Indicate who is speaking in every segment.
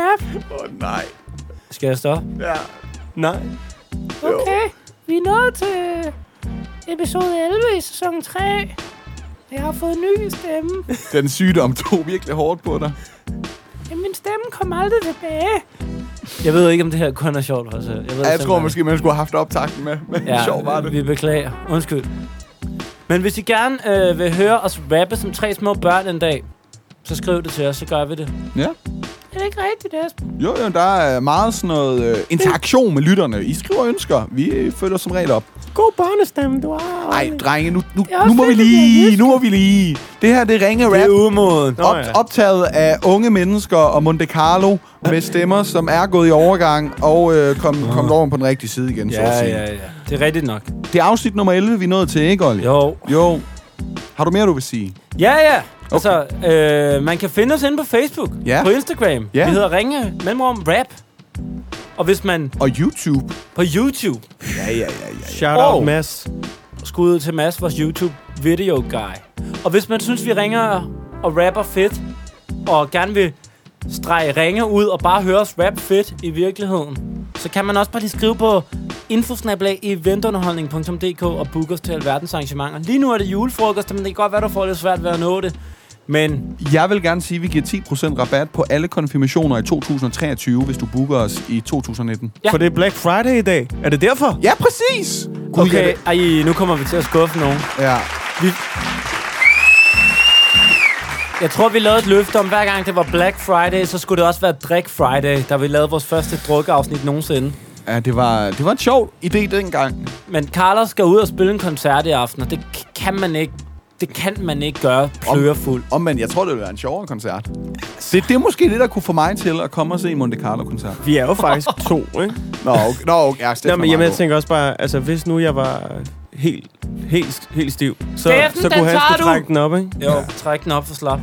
Speaker 1: Åh, oh, nej.
Speaker 2: Skal jeg stoppe?
Speaker 1: Ja.
Speaker 2: Nej.
Speaker 1: Jo.
Speaker 3: Okay, vi er nået til episode 11 i sæson 3. Jeg har fået en ny stemme.
Speaker 1: Den sygdom tog virkelig hårdt på dig.
Speaker 3: Men min stemme kom aldrig tilbage.
Speaker 2: Jeg ved ikke, om det her kun er sjovt for os. selv. Jeg, ved
Speaker 1: Ja, jeg
Speaker 2: simpelthen
Speaker 1: tror
Speaker 2: ikke.
Speaker 1: måske, man skulle have haft optakten med. Men ja, sjov var det.
Speaker 2: Vi beklager. Undskyld. Men hvis I gerne øh, vil høre os rappe som tre små børn en dag, så skriv det til os, så gør vi det.
Speaker 1: Ja.
Speaker 3: Er det ikke rigtigt, Esben?
Speaker 1: Jo, jo, der er meget sådan noget øh, interaktion med lytterne. I skriver ønsker. Vi øh, følger som regel op.
Speaker 3: God børnestemme, du har.
Speaker 1: Nej, drenge, nu, nu,
Speaker 3: er også
Speaker 1: nu må vi
Speaker 3: fedt, at det er
Speaker 1: lige,
Speaker 3: jysk.
Speaker 1: nu må vi lige. Det her, det ringe rap.
Speaker 2: umoden. Nå,
Speaker 1: Op,
Speaker 2: ja.
Speaker 1: optaget af unge mennesker og Monte Carlo med stemmer, som er gået i overgang og øh, kom, kom over på den rigtige side igen, så at
Speaker 2: Ja,
Speaker 1: sige.
Speaker 2: ja, ja. Det er rigtigt nok.
Speaker 1: Det er afsnit nummer 11, vi er nået til, ikke, Olli?
Speaker 2: Jo.
Speaker 1: jo. Har du mere, du vil sige?
Speaker 2: Ja, ja. Altså, øh, man kan finde os inde på Facebook,
Speaker 1: Ja.
Speaker 2: på Instagram.
Speaker 1: Ja.
Speaker 2: Vi hedder Ringe Mellemrum Rap. Og hvis man
Speaker 1: Og YouTube.
Speaker 2: på YouTube,
Speaker 1: Ja, ja, ja, ja.
Speaker 4: Shout out,
Speaker 2: Og-
Speaker 4: Mads.
Speaker 2: skud ud til Mads, vores YouTube video guy. Og hvis man synes, vi ringer og rapper fedt, og gerne vil strege ringe ud og bare høre os rap fedt i virkeligheden, så kan man også bare lige skrive på infosnablag.eventunderholdning.dk og booke os til alverdens arrangementer. Lige nu er det julefrokost, men det kan godt være, du får lidt svært ved at nå det. Men
Speaker 1: Jeg vil gerne sige, at vi giver 10% rabat på alle konfirmationer i 2023, hvis du booker os i 2019.
Speaker 2: Ja.
Speaker 4: Ja. For det er Black Friday i dag. Er det derfor?
Speaker 1: Ja, præcis! Gud, jeg
Speaker 2: Okay,
Speaker 1: vil-
Speaker 2: ej, nu kommer vi til at skuffe nogen.
Speaker 1: Ja.
Speaker 2: Jeg tror, vi lavede et løfte om, hver gang det var Black Friday, så skulle det også være Drik Friday, da vi lavede vores første drukafsnit nogensinde.
Speaker 1: ja, det var, det var en sjov idé dengang.
Speaker 2: Men Carlos skal ud og spille en koncert i aften, og det k- kan man ikke, det kan man ikke gøre plørefuld.
Speaker 1: Om, men jeg tror, det ville være en sjovere koncert. Det, det er måske det, der kunne få mig til at komme og se en Monte Carlo-koncert.
Speaker 4: Vi er jo faktisk to, ikke?
Speaker 1: Nå, okay. Nå, okay. Ja, Steffen
Speaker 4: Nå,
Speaker 1: er
Speaker 4: men
Speaker 1: meget
Speaker 4: jamen, jeg
Speaker 1: god.
Speaker 4: tænker også bare, altså hvis nu jeg var helt, helt, helt stiv, så,
Speaker 2: Steffen,
Speaker 4: så
Speaker 2: den
Speaker 4: kunne han
Speaker 2: tager
Speaker 4: skulle
Speaker 2: du!
Speaker 4: trække den op, ikke?
Speaker 2: Jo, træk den op for slap.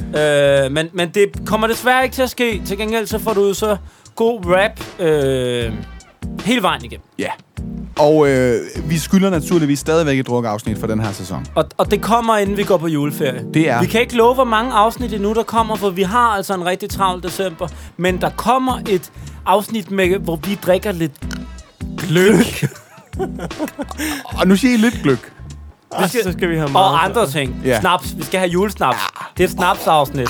Speaker 2: Øh, men, men det kommer desværre ikke til at ske. Til gengæld så får du så god rap øh, hele vejen igennem.
Speaker 1: Ja. Og øh, vi skylder naturligvis stadigvæk et drukafsnit for den her sæson.
Speaker 2: Og, og det kommer, inden vi går på juleferie.
Speaker 1: Det er-
Speaker 2: Vi kan ikke love, hvor mange afsnit endnu, der kommer, for vi har altså en rigtig travl december. Men der kommer et afsnit, med, hvor vi drikker lidt gløk
Speaker 1: Og nu siger I lidt gløk.
Speaker 4: Og Ah, så skal vi have meget.
Speaker 2: og andre ting.
Speaker 1: Ja.
Speaker 2: Snaps. Vi skal have julesnaps. Det er et snapsafsnit.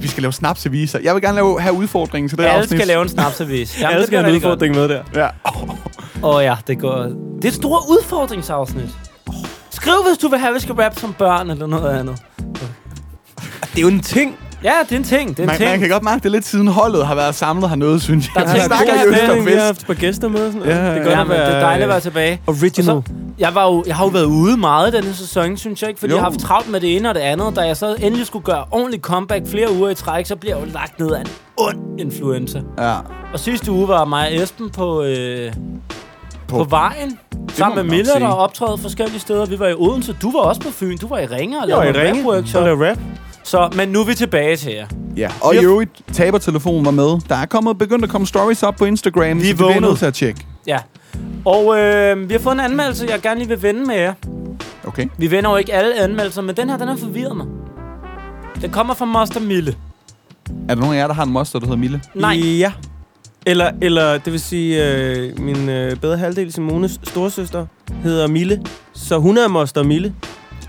Speaker 1: Vi skal lave snapseviser. Jeg vil gerne lave, have udfordringen til det her
Speaker 2: Alle
Speaker 1: afsnit.
Speaker 2: skal lave en snapsavis. Jamen,
Speaker 4: Alle
Speaker 2: det
Speaker 4: skal
Speaker 2: bliver
Speaker 4: have en
Speaker 2: rigtig godt.
Speaker 4: udfordring med der.
Speaker 1: Ja.
Speaker 2: Åh oh, ja, det går. Det er et stort udfordringsafsnit. Skriv, hvis du vil have, at vi skal rappe som børn eller noget andet.
Speaker 4: Det er jo en ting.
Speaker 2: Ja, det er en ting. Det er en
Speaker 1: Man,
Speaker 2: ting.
Speaker 1: man kan godt mærke, det er lidt siden holdet har været samlet hernede, synes jeg.
Speaker 2: Der er
Speaker 1: Vi
Speaker 2: tænkt-
Speaker 1: snakker
Speaker 2: der er
Speaker 1: i øst og
Speaker 4: vi har
Speaker 1: vest.
Speaker 4: haft på gæster med og sådan noget.
Speaker 1: Ja,
Speaker 4: det
Speaker 1: ja,
Speaker 4: er godt
Speaker 2: Ja,
Speaker 4: at
Speaker 2: men det er
Speaker 4: være
Speaker 2: dejligt at være tilbage.
Speaker 4: original.
Speaker 2: Og så, jeg, var jo, jeg har jo været ude meget denne sæson, synes jeg ikke, fordi
Speaker 1: Jo.
Speaker 2: jo. jeg har haft travlt med det ene og det andet. Da jeg så endelig skulle gøre ordentlig comeback flere uger i træk, så bliver jeg jo lagt ned af en ond influenza.
Speaker 1: Ja.
Speaker 2: Og sidste uge var mig og Esben på, øh, på,
Speaker 1: På-
Speaker 2: på vejen,
Speaker 1: må
Speaker 2: sammen
Speaker 1: man
Speaker 2: med
Speaker 1: nok
Speaker 2: Miller,
Speaker 1: sige.
Speaker 2: der optrædede forskellige steder. Vi var i Odense, du var også på Fyn, du var i Ringe og
Speaker 4: Jeg var i
Speaker 2: lavede nogle
Speaker 4: ringe, så
Speaker 2: rap-workshop.
Speaker 4: lavede rap.
Speaker 2: Så, men nu er vi tilbage til jer.
Speaker 1: ja. Og i
Speaker 2: Vi har-
Speaker 1: øvrigt, tabertelefonen var med. Der er kommet, begyndt at komme stories op på Instagram, så det bliver
Speaker 2: vågnede.
Speaker 1: nødt til at tjekke.
Speaker 2: Ja. Og øh, vi har fået en anmeldelse, jeg gerne lige vil vende med jer.
Speaker 1: Okay.
Speaker 2: Vi vender jo ikke alle anmeldelser, men den her, den har forvirret mig. Den kommer fra Moster Mille.
Speaker 1: Er der nogen af jer, der har en moster, der hedder Mille?
Speaker 2: Nej.
Speaker 4: Ja. Eller, eller det vil sige, øh, min øh, bedre halvdel, Simones storsøster, hedder Mille. Så hun er moster Mille.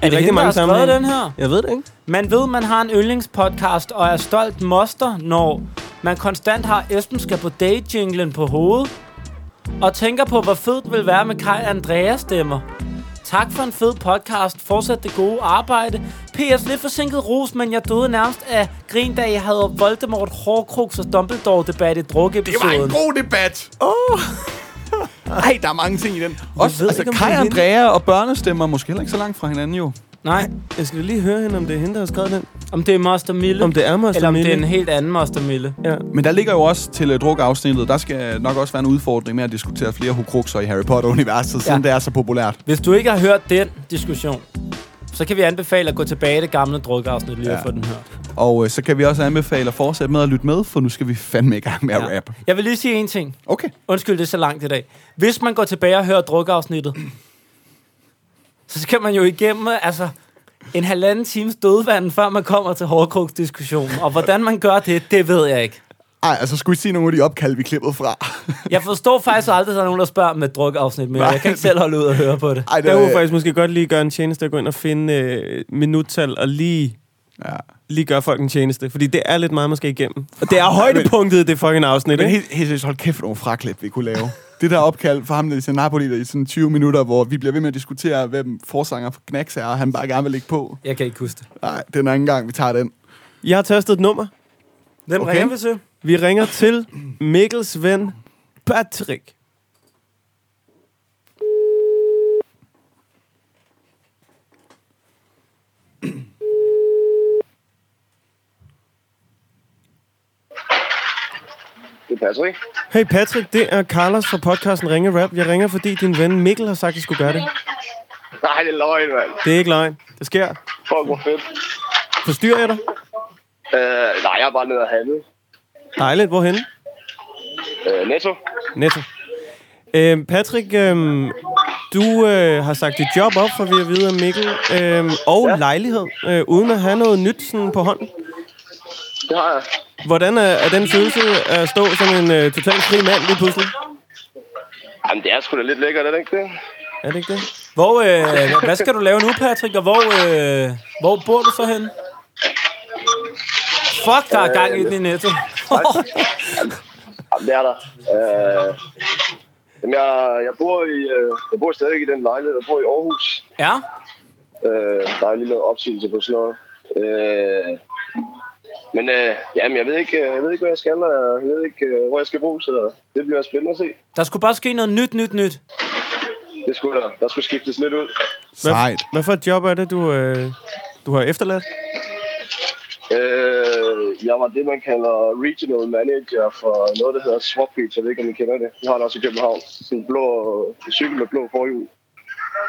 Speaker 2: Er det
Speaker 4: rigtig
Speaker 2: hende, der
Speaker 4: mange
Speaker 2: har skrevet
Speaker 4: sammenhænge.
Speaker 2: den her?
Speaker 4: Jeg ved det ikke.
Speaker 2: Man ved, man har en yndlingspodcast og er stolt moster, når man konstant har Esben skal på date på hovedet, og tænker på, hvor fedt det vil være med Kai Andreas stemmer. Tak for en fed podcast. Fortsat det gode arbejde. P.S. Lidt forsinket ros, men jeg døde nærmest af grin, da jeg havde Voldemort, Hårkrux og Dumbledore-debat i drukepisoden.
Speaker 1: god debat! Åh! Oh. Ej, der er mange ting i den. Også,
Speaker 4: ved
Speaker 1: altså,
Speaker 4: ikke, om
Speaker 1: Kai
Speaker 4: det er hende.
Speaker 1: Andrea og børnestemmer er måske heller ikke så langt fra hinanden, jo.
Speaker 2: Nej,
Speaker 4: Jeg skal lige høre hende, om det er hende, der har skrevet den.
Speaker 2: om det er Moster Mille.
Speaker 4: Om det er moster
Speaker 2: Eller om
Speaker 4: Mille.
Speaker 2: det er en helt anden Moster Mille.
Speaker 4: Ja.
Speaker 1: Men der ligger jo også til uh, drukafsnittet, der skal nok også være en udfordring med at diskutere flere hukrukser i Harry Potter-universet, ja. siden det er så populært.
Speaker 2: Hvis du ikke har hørt den diskussion, så kan vi anbefale at gå tilbage i det gamle drukafsnit lige
Speaker 1: Ja.
Speaker 2: ja. for den hørt.
Speaker 1: Og øh, så kan vi også anbefale at fortsætte med at lytte med, for nu skal vi fandme i gang med at rappe.
Speaker 2: Jeg vil lige sige en ting.
Speaker 1: Okay.
Speaker 2: Undskyld, det er så langt i dag. Hvis man går tilbage og hører drukafsnittet, så skal man jo igennem altså, en halvanden times dødvand, før man kommer til hårdkrugsdiskussionen. Og hvordan man gør det, det ved jeg ikke.
Speaker 1: Ej, altså skulle I sige nogle af de opkald, vi klippede fra?
Speaker 2: Jeg forstår faktisk aldrig, at der er nogen, der spørger med et drukafsnit mere.
Speaker 1: Nej.
Speaker 2: Jeg kan ikke selv holde ud og høre på det.
Speaker 1: Ej, det
Speaker 4: Der kunne
Speaker 1: er
Speaker 4: jeg faktisk måske godt lige gøre en tjeneste at gå ind og finde øh, minuttal og lige,
Speaker 1: ja.
Speaker 4: lige gøre folk en tjeneste. Fordi det er lidt meget, man skal igennem. Og
Speaker 2: Ah,
Speaker 4: det er højdepunktet, i det fucking afsnit,
Speaker 1: Men
Speaker 4: ikke?
Speaker 1: helt, helt seriøst, hold kæft, nogle fraklip, vi kunne lave. Det der opkald for ham, der til Napoli der i sådan 20 minutter, hvor vi bliver ved med at diskutere, hvem forsanger for Knacks er, og han bare gerne vil lægge på.
Speaker 2: Jeg kan ikke huske det.
Speaker 1: Nej, det er en anden gang, vi tager den.
Speaker 4: Jeg har tastet et nummer.
Speaker 2: Hvem
Speaker 1: Okay.
Speaker 2: okay. ringer vi til?
Speaker 4: Vi ringer til Mikkels ven Patrick.
Speaker 5: Det passer ikke.
Speaker 4: Hey Patrick, det er Carlos fra podcasten Ringe Rap. Jeg ringer, fordi din ven Mikkel har sagt, at I skulle gøre det.
Speaker 5: Nej, det er løgn, mand.
Speaker 4: Det er ikke løgn. Det sker.
Speaker 5: Fuck, hvor fedt.
Speaker 4: Forstyrrer jeg dig?
Speaker 5: Øh, nej, jeg er bare nede og handle.
Speaker 4: Dejligt. Hvorhenne?
Speaker 5: Øh, netto.
Speaker 4: Netto. Øhm, Patrick, øhm, du øh, har sagt dit job op, for vi at vide af Mikkel, øhm, og ja. lejlighed, øh, uden at have noget nyt sådan, på hånden.
Speaker 5: Det har jeg.
Speaker 4: Hvordan er, er den følelse at stå som en øh, totalt fri mand lige pludselig?
Speaker 5: Jamen, det er sgu da lidt lækkert, er det ikke det?
Speaker 4: Er det ikke det?
Speaker 2: Hvor, øh, hvad skal du lave nu, Patrick? Og hvor, øh, hvor bor du så henne? Fuck, der er gang i den i netto.
Speaker 5: Jamen, det er der. Øh, jamen, jeg, jeg, bor i, øh, jeg bor stadig i den lejlighed. Jeg bor i Aarhus.
Speaker 2: ja,
Speaker 5: Øh, der er lige noget opsigelse på sådan noget. Øh, men øh, jamen, jeg, ved ikke, øh, jeg ved ikke, hvad jeg skal, og jeg ved ikke, øh, hvor jeg skal bo, så det bliver spændende at se.
Speaker 2: der skulle bare ske noget nyt, nyt, nyt.
Speaker 5: Det skulle der. Der skulle skiftes lidt ud.
Speaker 1: Sejt.
Speaker 4: Hvad for et job er det, du, øh, du har efterladt?
Speaker 5: Øh, jeg var det, man kalder regional manager for noget, der hedder Swap Beach. Jeg ved ikke, om I kender det. Vi har det også i København. Sådan en blå en cykel med blå forhjul.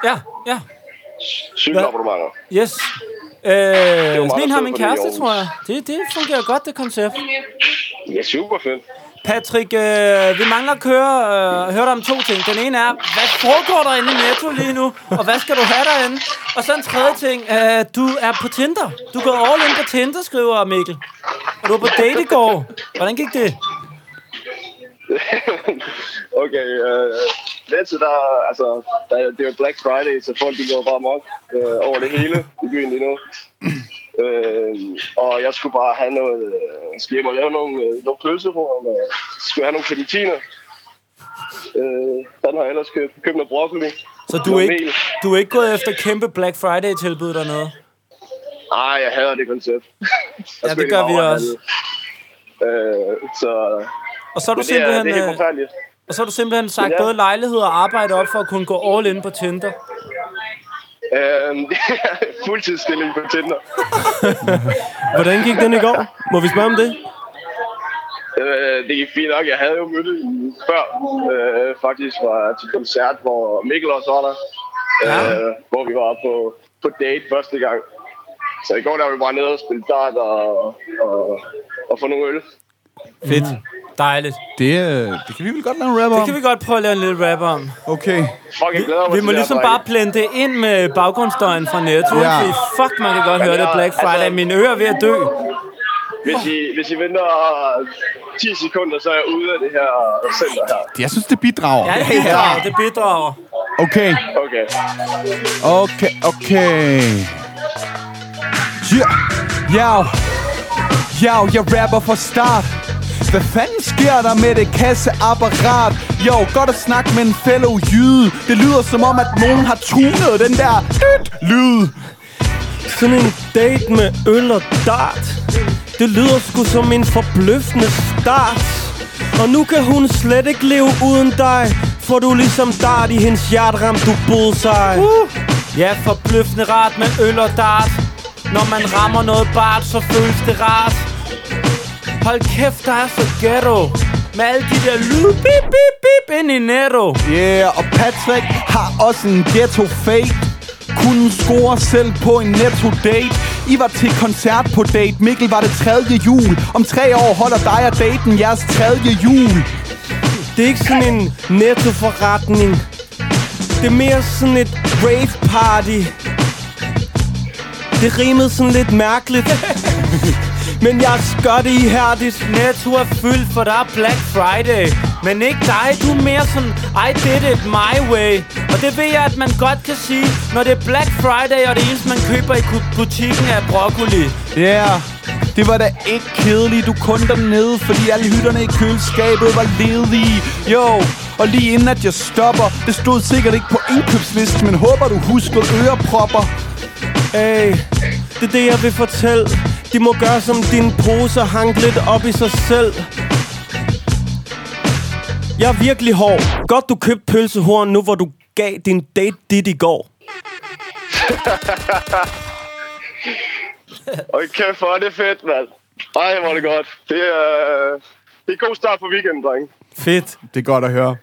Speaker 2: Ja, ja,
Speaker 5: Cykelabonnementer.
Speaker 2: yes. Øh,
Speaker 5: meget
Speaker 2: sådan en har min
Speaker 5: fedt, fordi
Speaker 2: kæreste,
Speaker 5: Aarhus.
Speaker 2: tror jeg. Det, det fungerer godt, det koncept.
Speaker 5: Ja, super fedt.
Speaker 2: Patrick, øh, vi mangler at køre, øh, høre dig om to ting. Den ene er, hvad foregår der inde i Netto lige nu, og hvad skal du have derinde? Og så en tredje ting, øh, du er på Tinder. Du er gået all in på Tinder, skriver Mikkel. Og du var på date i går. Hvordan gik det?
Speaker 5: okay, øh, Netto, der, altså, der, det er jo Black Friday, så folk de går bare mok øh, over det hele i byen lige nu. Øh, og jeg skulle bare have noget, øh, skulle hjem og lave nogle, øh, nogle pølserorm, og skulle have nogle clementiner. Øh, den har jeg ellers købt, købt noget broccoli.
Speaker 2: Så du er ikke, du er ikke gået efter kæmpe Black Friday-tilbud dernede?
Speaker 5: Nej, jeg hader det koncept.
Speaker 2: Ja, det gør vi også.
Speaker 5: Øh, så
Speaker 2: Og så er du
Speaker 5: men det, er,
Speaker 2: simpelthen,
Speaker 5: det er helt
Speaker 2: øh,
Speaker 5: forfærdeligt.
Speaker 2: og så er du simpelthen sagt
Speaker 5: Ja.
Speaker 2: både lejlighed og arbejde op for at kunne gå all in på Tinder.
Speaker 5: Øh, fuldtidsstilling på Tinder.
Speaker 4: Hvordan gik den i går? Må vi spørge om det?
Speaker 5: Øh, det gik fint nok. Jeg havde jo mødt hende før. Øh, faktisk var jeg til koncert, hvor Mikkel også var der. Ja. Øh, hvor vi var på, på date første gang. Så i går der var vi bare nede og spille dart og, og, og få nogle øl.
Speaker 2: Fedt. Dejligt.
Speaker 1: Det, øh, det kan vi vel godt lave en rap
Speaker 2: Det
Speaker 1: om.
Speaker 2: kan vi godt prøve at lave en lille rap om.
Speaker 1: Okay.
Speaker 5: Fuck, jeg glæder mig
Speaker 2: Vi
Speaker 5: til
Speaker 2: må
Speaker 5: det her,
Speaker 2: ligesom
Speaker 5: drenge.
Speaker 2: bare blende det ind med baggrundsstøjen fra Netto.
Speaker 1: Ja.
Speaker 2: Ja. Fuck, man kan godt høre det altså- Black Friday. Mine ører er ved at dø.
Speaker 5: Hvis I, hvis I venter 10 sekunder, så er jeg ude af det her center her.
Speaker 1: Jeg synes, det bidrager.
Speaker 2: Ja, det bidrager. Det bidrager.
Speaker 1: Okay.
Speaker 5: Okay.
Speaker 1: Okay, okay. Yeah. Yo. Yo, jeg rapper fra start. Hvad fanden sker der med det kasseapparat? Jo, godt at snakke med en fellow jyde. Det lyder som om, at nogen har tunet den der dyt lyd.
Speaker 4: Sådan en date med øl og dart Det lyder sgu som en forbløffende start Og nu kan hun slet ikke leve uden dig For du er ligesom dart i hendes hjert ramt du bullseye uh.
Speaker 2: Ja, forbløffende rart med øl og dart. Når man rammer noget bart, så føles det rart. Hold kæft, der er så ghetto. Med alle de der lyd, bip, bip, bip, ind i Netto.
Speaker 1: Yeah, og Patrick har også en ghetto fate Kunne score selv på en netto date I var til koncert på date Mikkel var det tredje jul Om tre år holder dig og daten jeres tredje jul
Speaker 4: Det er ikke sådan en nettoforretning Det er mere sådan et rave party Det rimede sådan lidt mærkeligt Men jeg gør det ihærdigt
Speaker 2: Netto er fyldt, for der er Black Friday. Men ikke dig, du er mere sådan, I did it my way. Og det ved jeg, at man godt kan sige, når det er Black Friday, og det eneste, man køber i ku- butikken er broccoli.
Speaker 1: Ja, yeah. det var da ikke kedeligt. Du kun dernede, fordi alle hytterne i køleskabet var ledige. Jo, og lige inden at jeg stopper, det stod sikkert ikke på indkøbslisten, men håber du husker ørepropper.
Speaker 4: Hey, det er det, jeg vil fortælle. De må gøre som din pose og hang lidt op i sig selv. Jeg er virkelig hård. Godt, du købte pølsehorn nu, hvor du gav din date dit i går.
Speaker 5: Og kæft, hvor er det fedt, mand. Ej, hvor er det godt. Det er, øh, det er en god start på weekenden, drenge.
Speaker 4: Fedt.
Speaker 1: Det er godt at høre.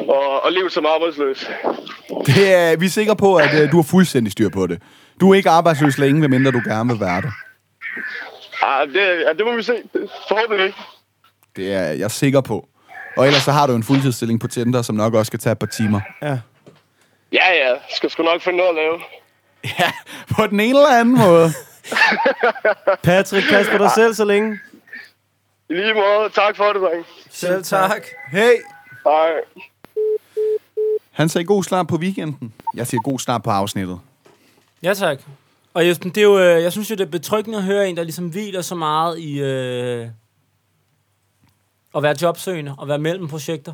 Speaker 5: Og, og liv som arbejdsløs.
Speaker 1: Det er, vi er sikre på, at øh, du har fuldstændig styr på det. Du er ikke arbejdsløs længe, medmindre du gerne vil være det.
Speaker 5: Ej, Ah, det, ja, det må vi se. Det- Forhåbentlig ikke.
Speaker 1: Det er jeg sikker på. Og ellers så har du en fuldtidsstilling på Tinder, som nok også skal tage et par timer.
Speaker 4: Ja.
Speaker 5: Ja, ja. Skal sgu nok finde noget at lave.
Speaker 1: Ja, på den ene eller anden måde.
Speaker 4: Patrick, pas på dig selv så længe.
Speaker 5: I lige måde. Tak for det, drenge.
Speaker 2: Selv tak.
Speaker 1: Hey!
Speaker 5: Hej.
Speaker 1: Han sagde god start på weekenden. Jeg siger god start på afsnittet.
Speaker 2: Ja, tak. Og Jesper, det er jo, øh, jeg synes jo, det er betryggende at høre en, der ligesom hviler så meget i øh, at være jobsøgende og være mellem projekter.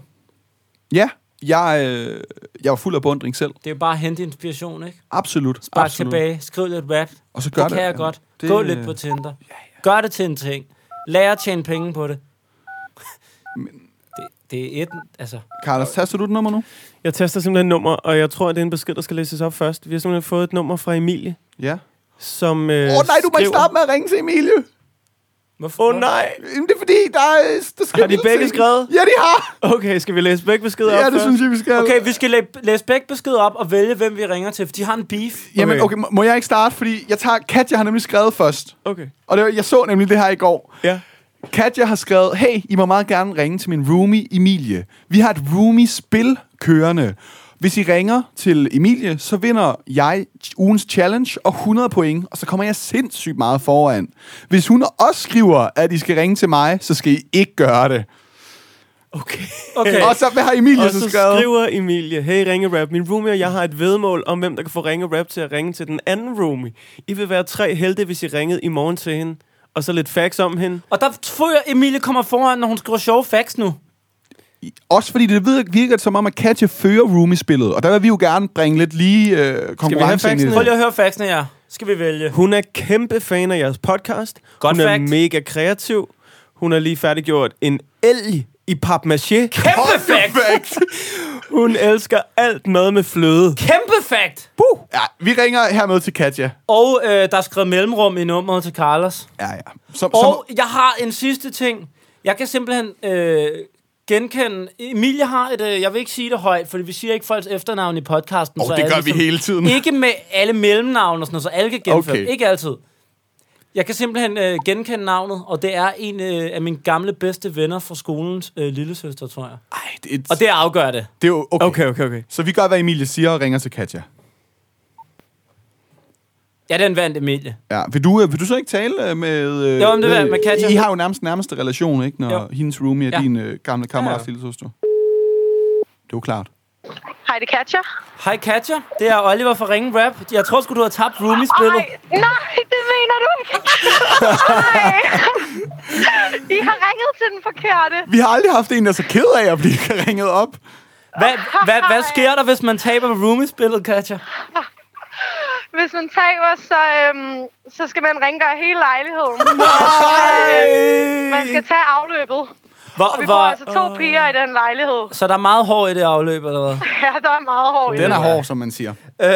Speaker 1: Ja, jeg, øh, jeg var fuld af bundring selv.
Speaker 2: Det er jo bare at hente inspiration, ikke?
Speaker 1: Absolut.
Speaker 2: Spark
Speaker 1: absolut.
Speaker 2: tilbage, skriv lidt rap.
Speaker 1: Og så gør
Speaker 2: det
Speaker 1: det,
Speaker 2: kan jeg
Speaker 1: ja.
Speaker 2: godt.
Speaker 1: Det-
Speaker 2: Gå lidt på Tinder. Gør det til en ting. Lær at tjene penge på det. Men... det, det er et... Altså,
Speaker 1: Carlos, taster du et nummer nu?
Speaker 4: Jeg tester simpelthen nummer, og jeg tror, at det er en besked, der skal læses op først. Vi har simpelthen fået et nummer fra Emilie,
Speaker 1: Ja.
Speaker 4: som øh,
Speaker 1: Åh oh, nej, du må ikke
Speaker 4: skriver-
Speaker 1: starte med at ringe til Emilie.
Speaker 2: hvorfor?
Speaker 4: Åh oh, nej!
Speaker 1: Jamen, det er fordi, der, er- der skal
Speaker 4: Har de begge skrevet?
Speaker 1: Ja, de har.
Speaker 4: Okay, skal vi læse begge beskeder op
Speaker 1: Ja, det
Speaker 4: først?
Speaker 1: synes jeg, vi skal.
Speaker 2: Okay, vi skal læ- læse begge besked op og vælge, hvem vi ringer til, for de har en beef.
Speaker 1: Jamen,
Speaker 4: Okay.
Speaker 1: okay, må- må jeg ikke starte? Fordi jeg tager... Katja har nemlig skrevet først.
Speaker 4: Okay.
Speaker 1: Og det, var- jeg så nemlig det her i går.
Speaker 4: Ja.
Speaker 1: Katja har skrevet, hey, I må meget gerne ringe til min roomie Emilie. Vi har et roomie-spil kørende. Hvis I ringer til Emilie, så vinder jeg ugens challenge og 100 point, og så kommer jeg sindssygt meget foran. Hvis hun også skriver, at I skal ringe til mig, så skal I ikke gøre det.
Speaker 4: Okay.
Speaker 2: Okay.
Speaker 1: Og så, hvad har Emilie
Speaker 4: Og
Speaker 1: så,
Speaker 4: så
Speaker 1: skrevet?
Speaker 4: skriver Emilie, hey Ringe Rap, min roomie og jeg har et vedmål om, hvem der kan få Ringe Rap til at ringe til den anden roomie. I vil være tre helte, hvis I ringede i morgen til hende. Og så lidt facts om hende.
Speaker 2: Og der tror jeg, Emilie kommer foran, når hun skriver sjove facts nu.
Speaker 1: Også fordi det virker- virker som om, at Katja fører roomie-spillet, og der vil vi jo gerne bringe lidt lige øh, konkurrence ind i
Speaker 4: faxene?
Speaker 1: det.
Speaker 2: Prøv lige at høre faxene her. Skal vi vælge.
Speaker 4: Hun er kæmpe fan af jeres podcast.
Speaker 2: Godt
Speaker 4: Hun er
Speaker 2: fact.
Speaker 4: mega kreativ. Hun har lige færdiggjort en elg i papmaché.
Speaker 2: Kæmpe fact!
Speaker 4: Hun elsker alt noget med fløde.
Speaker 2: Kæmpe fact!
Speaker 1: Ja, vi ringer hermed til Katja.
Speaker 2: Og øh, der er skrevet mellemrum i nummeret til Carlos.
Speaker 1: Ja, ja. Som,
Speaker 2: Og jeg har en sidste ting. Jeg kan simpelthen øh, genkende... Emilie har et... Øh, jeg vil ikke sige det højt, for vi siger ikke folks efternavn i podcasten.
Speaker 1: Åh,
Speaker 2: så
Speaker 1: det
Speaker 2: alle
Speaker 1: gør vi
Speaker 2: ligesom-
Speaker 1: hele tiden.
Speaker 2: Ikke med alle mellemnavn og sådan noget, så alle kan genføre.
Speaker 1: Okay.
Speaker 2: Okay. Ikke altid. Jeg kan simpelthen øh, genkende navnet, og det er en øh, af mine gamle bedste venner fra skolens øh, lillesøster, tror jeg.
Speaker 1: Ej, det, er-
Speaker 2: Og det afgør det.
Speaker 1: det er jo okay.
Speaker 4: Okay, okay, okay.
Speaker 1: Så vi gør, hvad Emilie siger og ringer til Katja.
Speaker 2: Ja, den vandt Emilie.
Speaker 1: Ja, vil du, øh, vil du så ikke tale øh, med... øh,
Speaker 2: Jo, men det vil jeg, med Katja.
Speaker 1: I har jo nærmest nærmeste relation, ikke? Når
Speaker 2: Jo.
Speaker 1: hendes roomie er
Speaker 2: Ja.
Speaker 1: ja. din øh, gamle kammerats
Speaker 2: Ja.
Speaker 1: ja. lille søster. Det er jo klart.
Speaker 6: Hej, det er Katja.
Speaker 2: Hej Katja, det er Oliver fra Ringe Rap. Jeg tror sgu, du har tabt roomie-spillet.
Speaker 6: Ej, nej, det mener du ikke. Ej. I har ringet til den forkerte.
Speaker 1: Vi har aldrig haft en, der er så ked af at blive ringet op.
Speaker 2: Hvad, hvad, hvad sker der, hvis man taber roomie-spillet, Katja?
Speaker 6: Hvis man taber, så, øhm, så skal man rengøre hele lejligheden. øh, Man skal tage afløbet. Og
Speaker 2: Hvor,
Speaker 6: vi bor altså
Speaker 2: hvor,
Speaker 6: to piger i den lejlighed.
Speaker 2: så der er meget hår i det afløb, eller hvad?
Speaker 6: Ja, der er meget hårdt.
Speaker 1: Den er hård, som man siger.
Speaker 2: øh,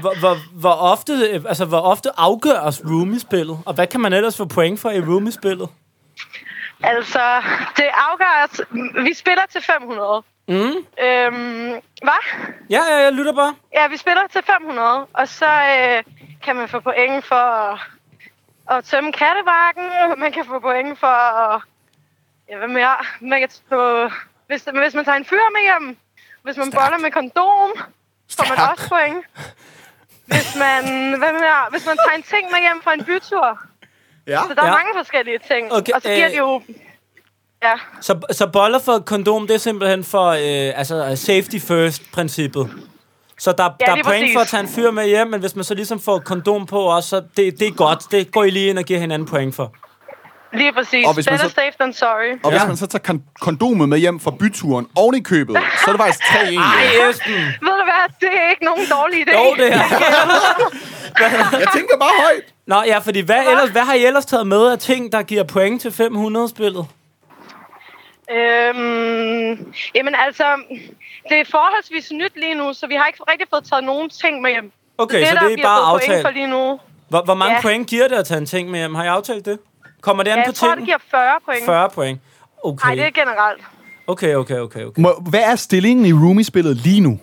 Speaker 2: hvor, hvor, hvor, ofte, øh, altså, hvor ofte afgøres roomie-spillet? Og hvad kan man ellers få point for i roomie-spillet?
Speaker 6: Altså, det afgør os. Vi spiller til 500. Mm. Øhm, hvad?
Speaker 2: Ja, ja, jeg lytter bare.
Speaker 6: Ja, vi spiller til 500, og så øh, kan man få point for at, at tømme kattebakken, man kan få point for at, ja, hvad mere, man kan få, hvis, hvis man tager en fyr med hjem, hvis man boller med kondom, får man
Speaker 1: Stærkt.
Speaker 6: også point. Hvis man, hvad mere, hvis man tager en ting med hjem fra en bytur,
Speaker 1: Ja.
Speaker 6: Så der ja.
Speaker 2: Ja.
Speaker 6: er mange forskellige ting.
Speaker 2: Okay,
Speaker 6: Okay, og så giver
Speaker 2: øh,
Speaker 6: øh... de jo... Ja,
Speaker 2: Så, så boller for et kondom, det er simpelthen for øh, altså safety first-princippet. Så der,
Speaker 6: Ja,
Speaker 2: der er
Speaker 6: lige
Speaker 2: point
Speaker 6: præcis.
Speaker 2: for at tage en fyr med hjem, men hvis man så ligesom får et kondom på også, så det, det er godt. Det går I lige ind og giver hinanden point for.
Speaker 6: lige præcis.
Speaker 1: Og hvis man
Speaker 6: Better
Speaker 1: så-
Speaker 6: safe than sorry.
Speaker 1: Og hvis
Speaker 2: Ja.
Speaker 1: man så tager kon- kondomet med hjem fra byturen oven i købet, så er det faktisk 3 1
Speaker 2: Ej, Esben!
Speaker 6: Ved du hvad, det er ikke nogen dårlig idé.
Speaker 2: Jo, det her.
Speaker 1: Jeg tænker bare højt.
Speaker 2: Nå, ja, fordi hvad, ellers, hvad har I ellers taget med af ting, der giver point til 500-spillet?
Speaker 6: Øhm, jamen altså, det er forholdsvis nyt lige nu, så vi har ikke rigtig fået taget nogen ting med hjem.
Speaker 2: Okay, så
Speaker 6: der
Speaker 2: det er
Speaker 6: bliver
Speaker 2: bare
Speaker 6: fået point
Speaker 2: aftalt.
Speaker 6: for lige nu.
Speaker 2: Hvor, hvor mange ja.
Speaker 6: Ja.
Speaker 2: point giver det at tage en ting med hjem? Har I aftalt det? Kommer det an
Speaker 6: Ja,
Speaker 2: på
Speaker 6: jeg tror, det
Speaker 2: ting?
Speaker 6: giver 40 point.
Speaker 2: 40 point.
Speaker 6: Nej, det er
Speaker 2: Okay.
Speaker 6: generelt.
Speaker 2: okay, okay, okay, okay.
Speaker 1: Må, hvad er stillingen i roomie-spillet lige nu?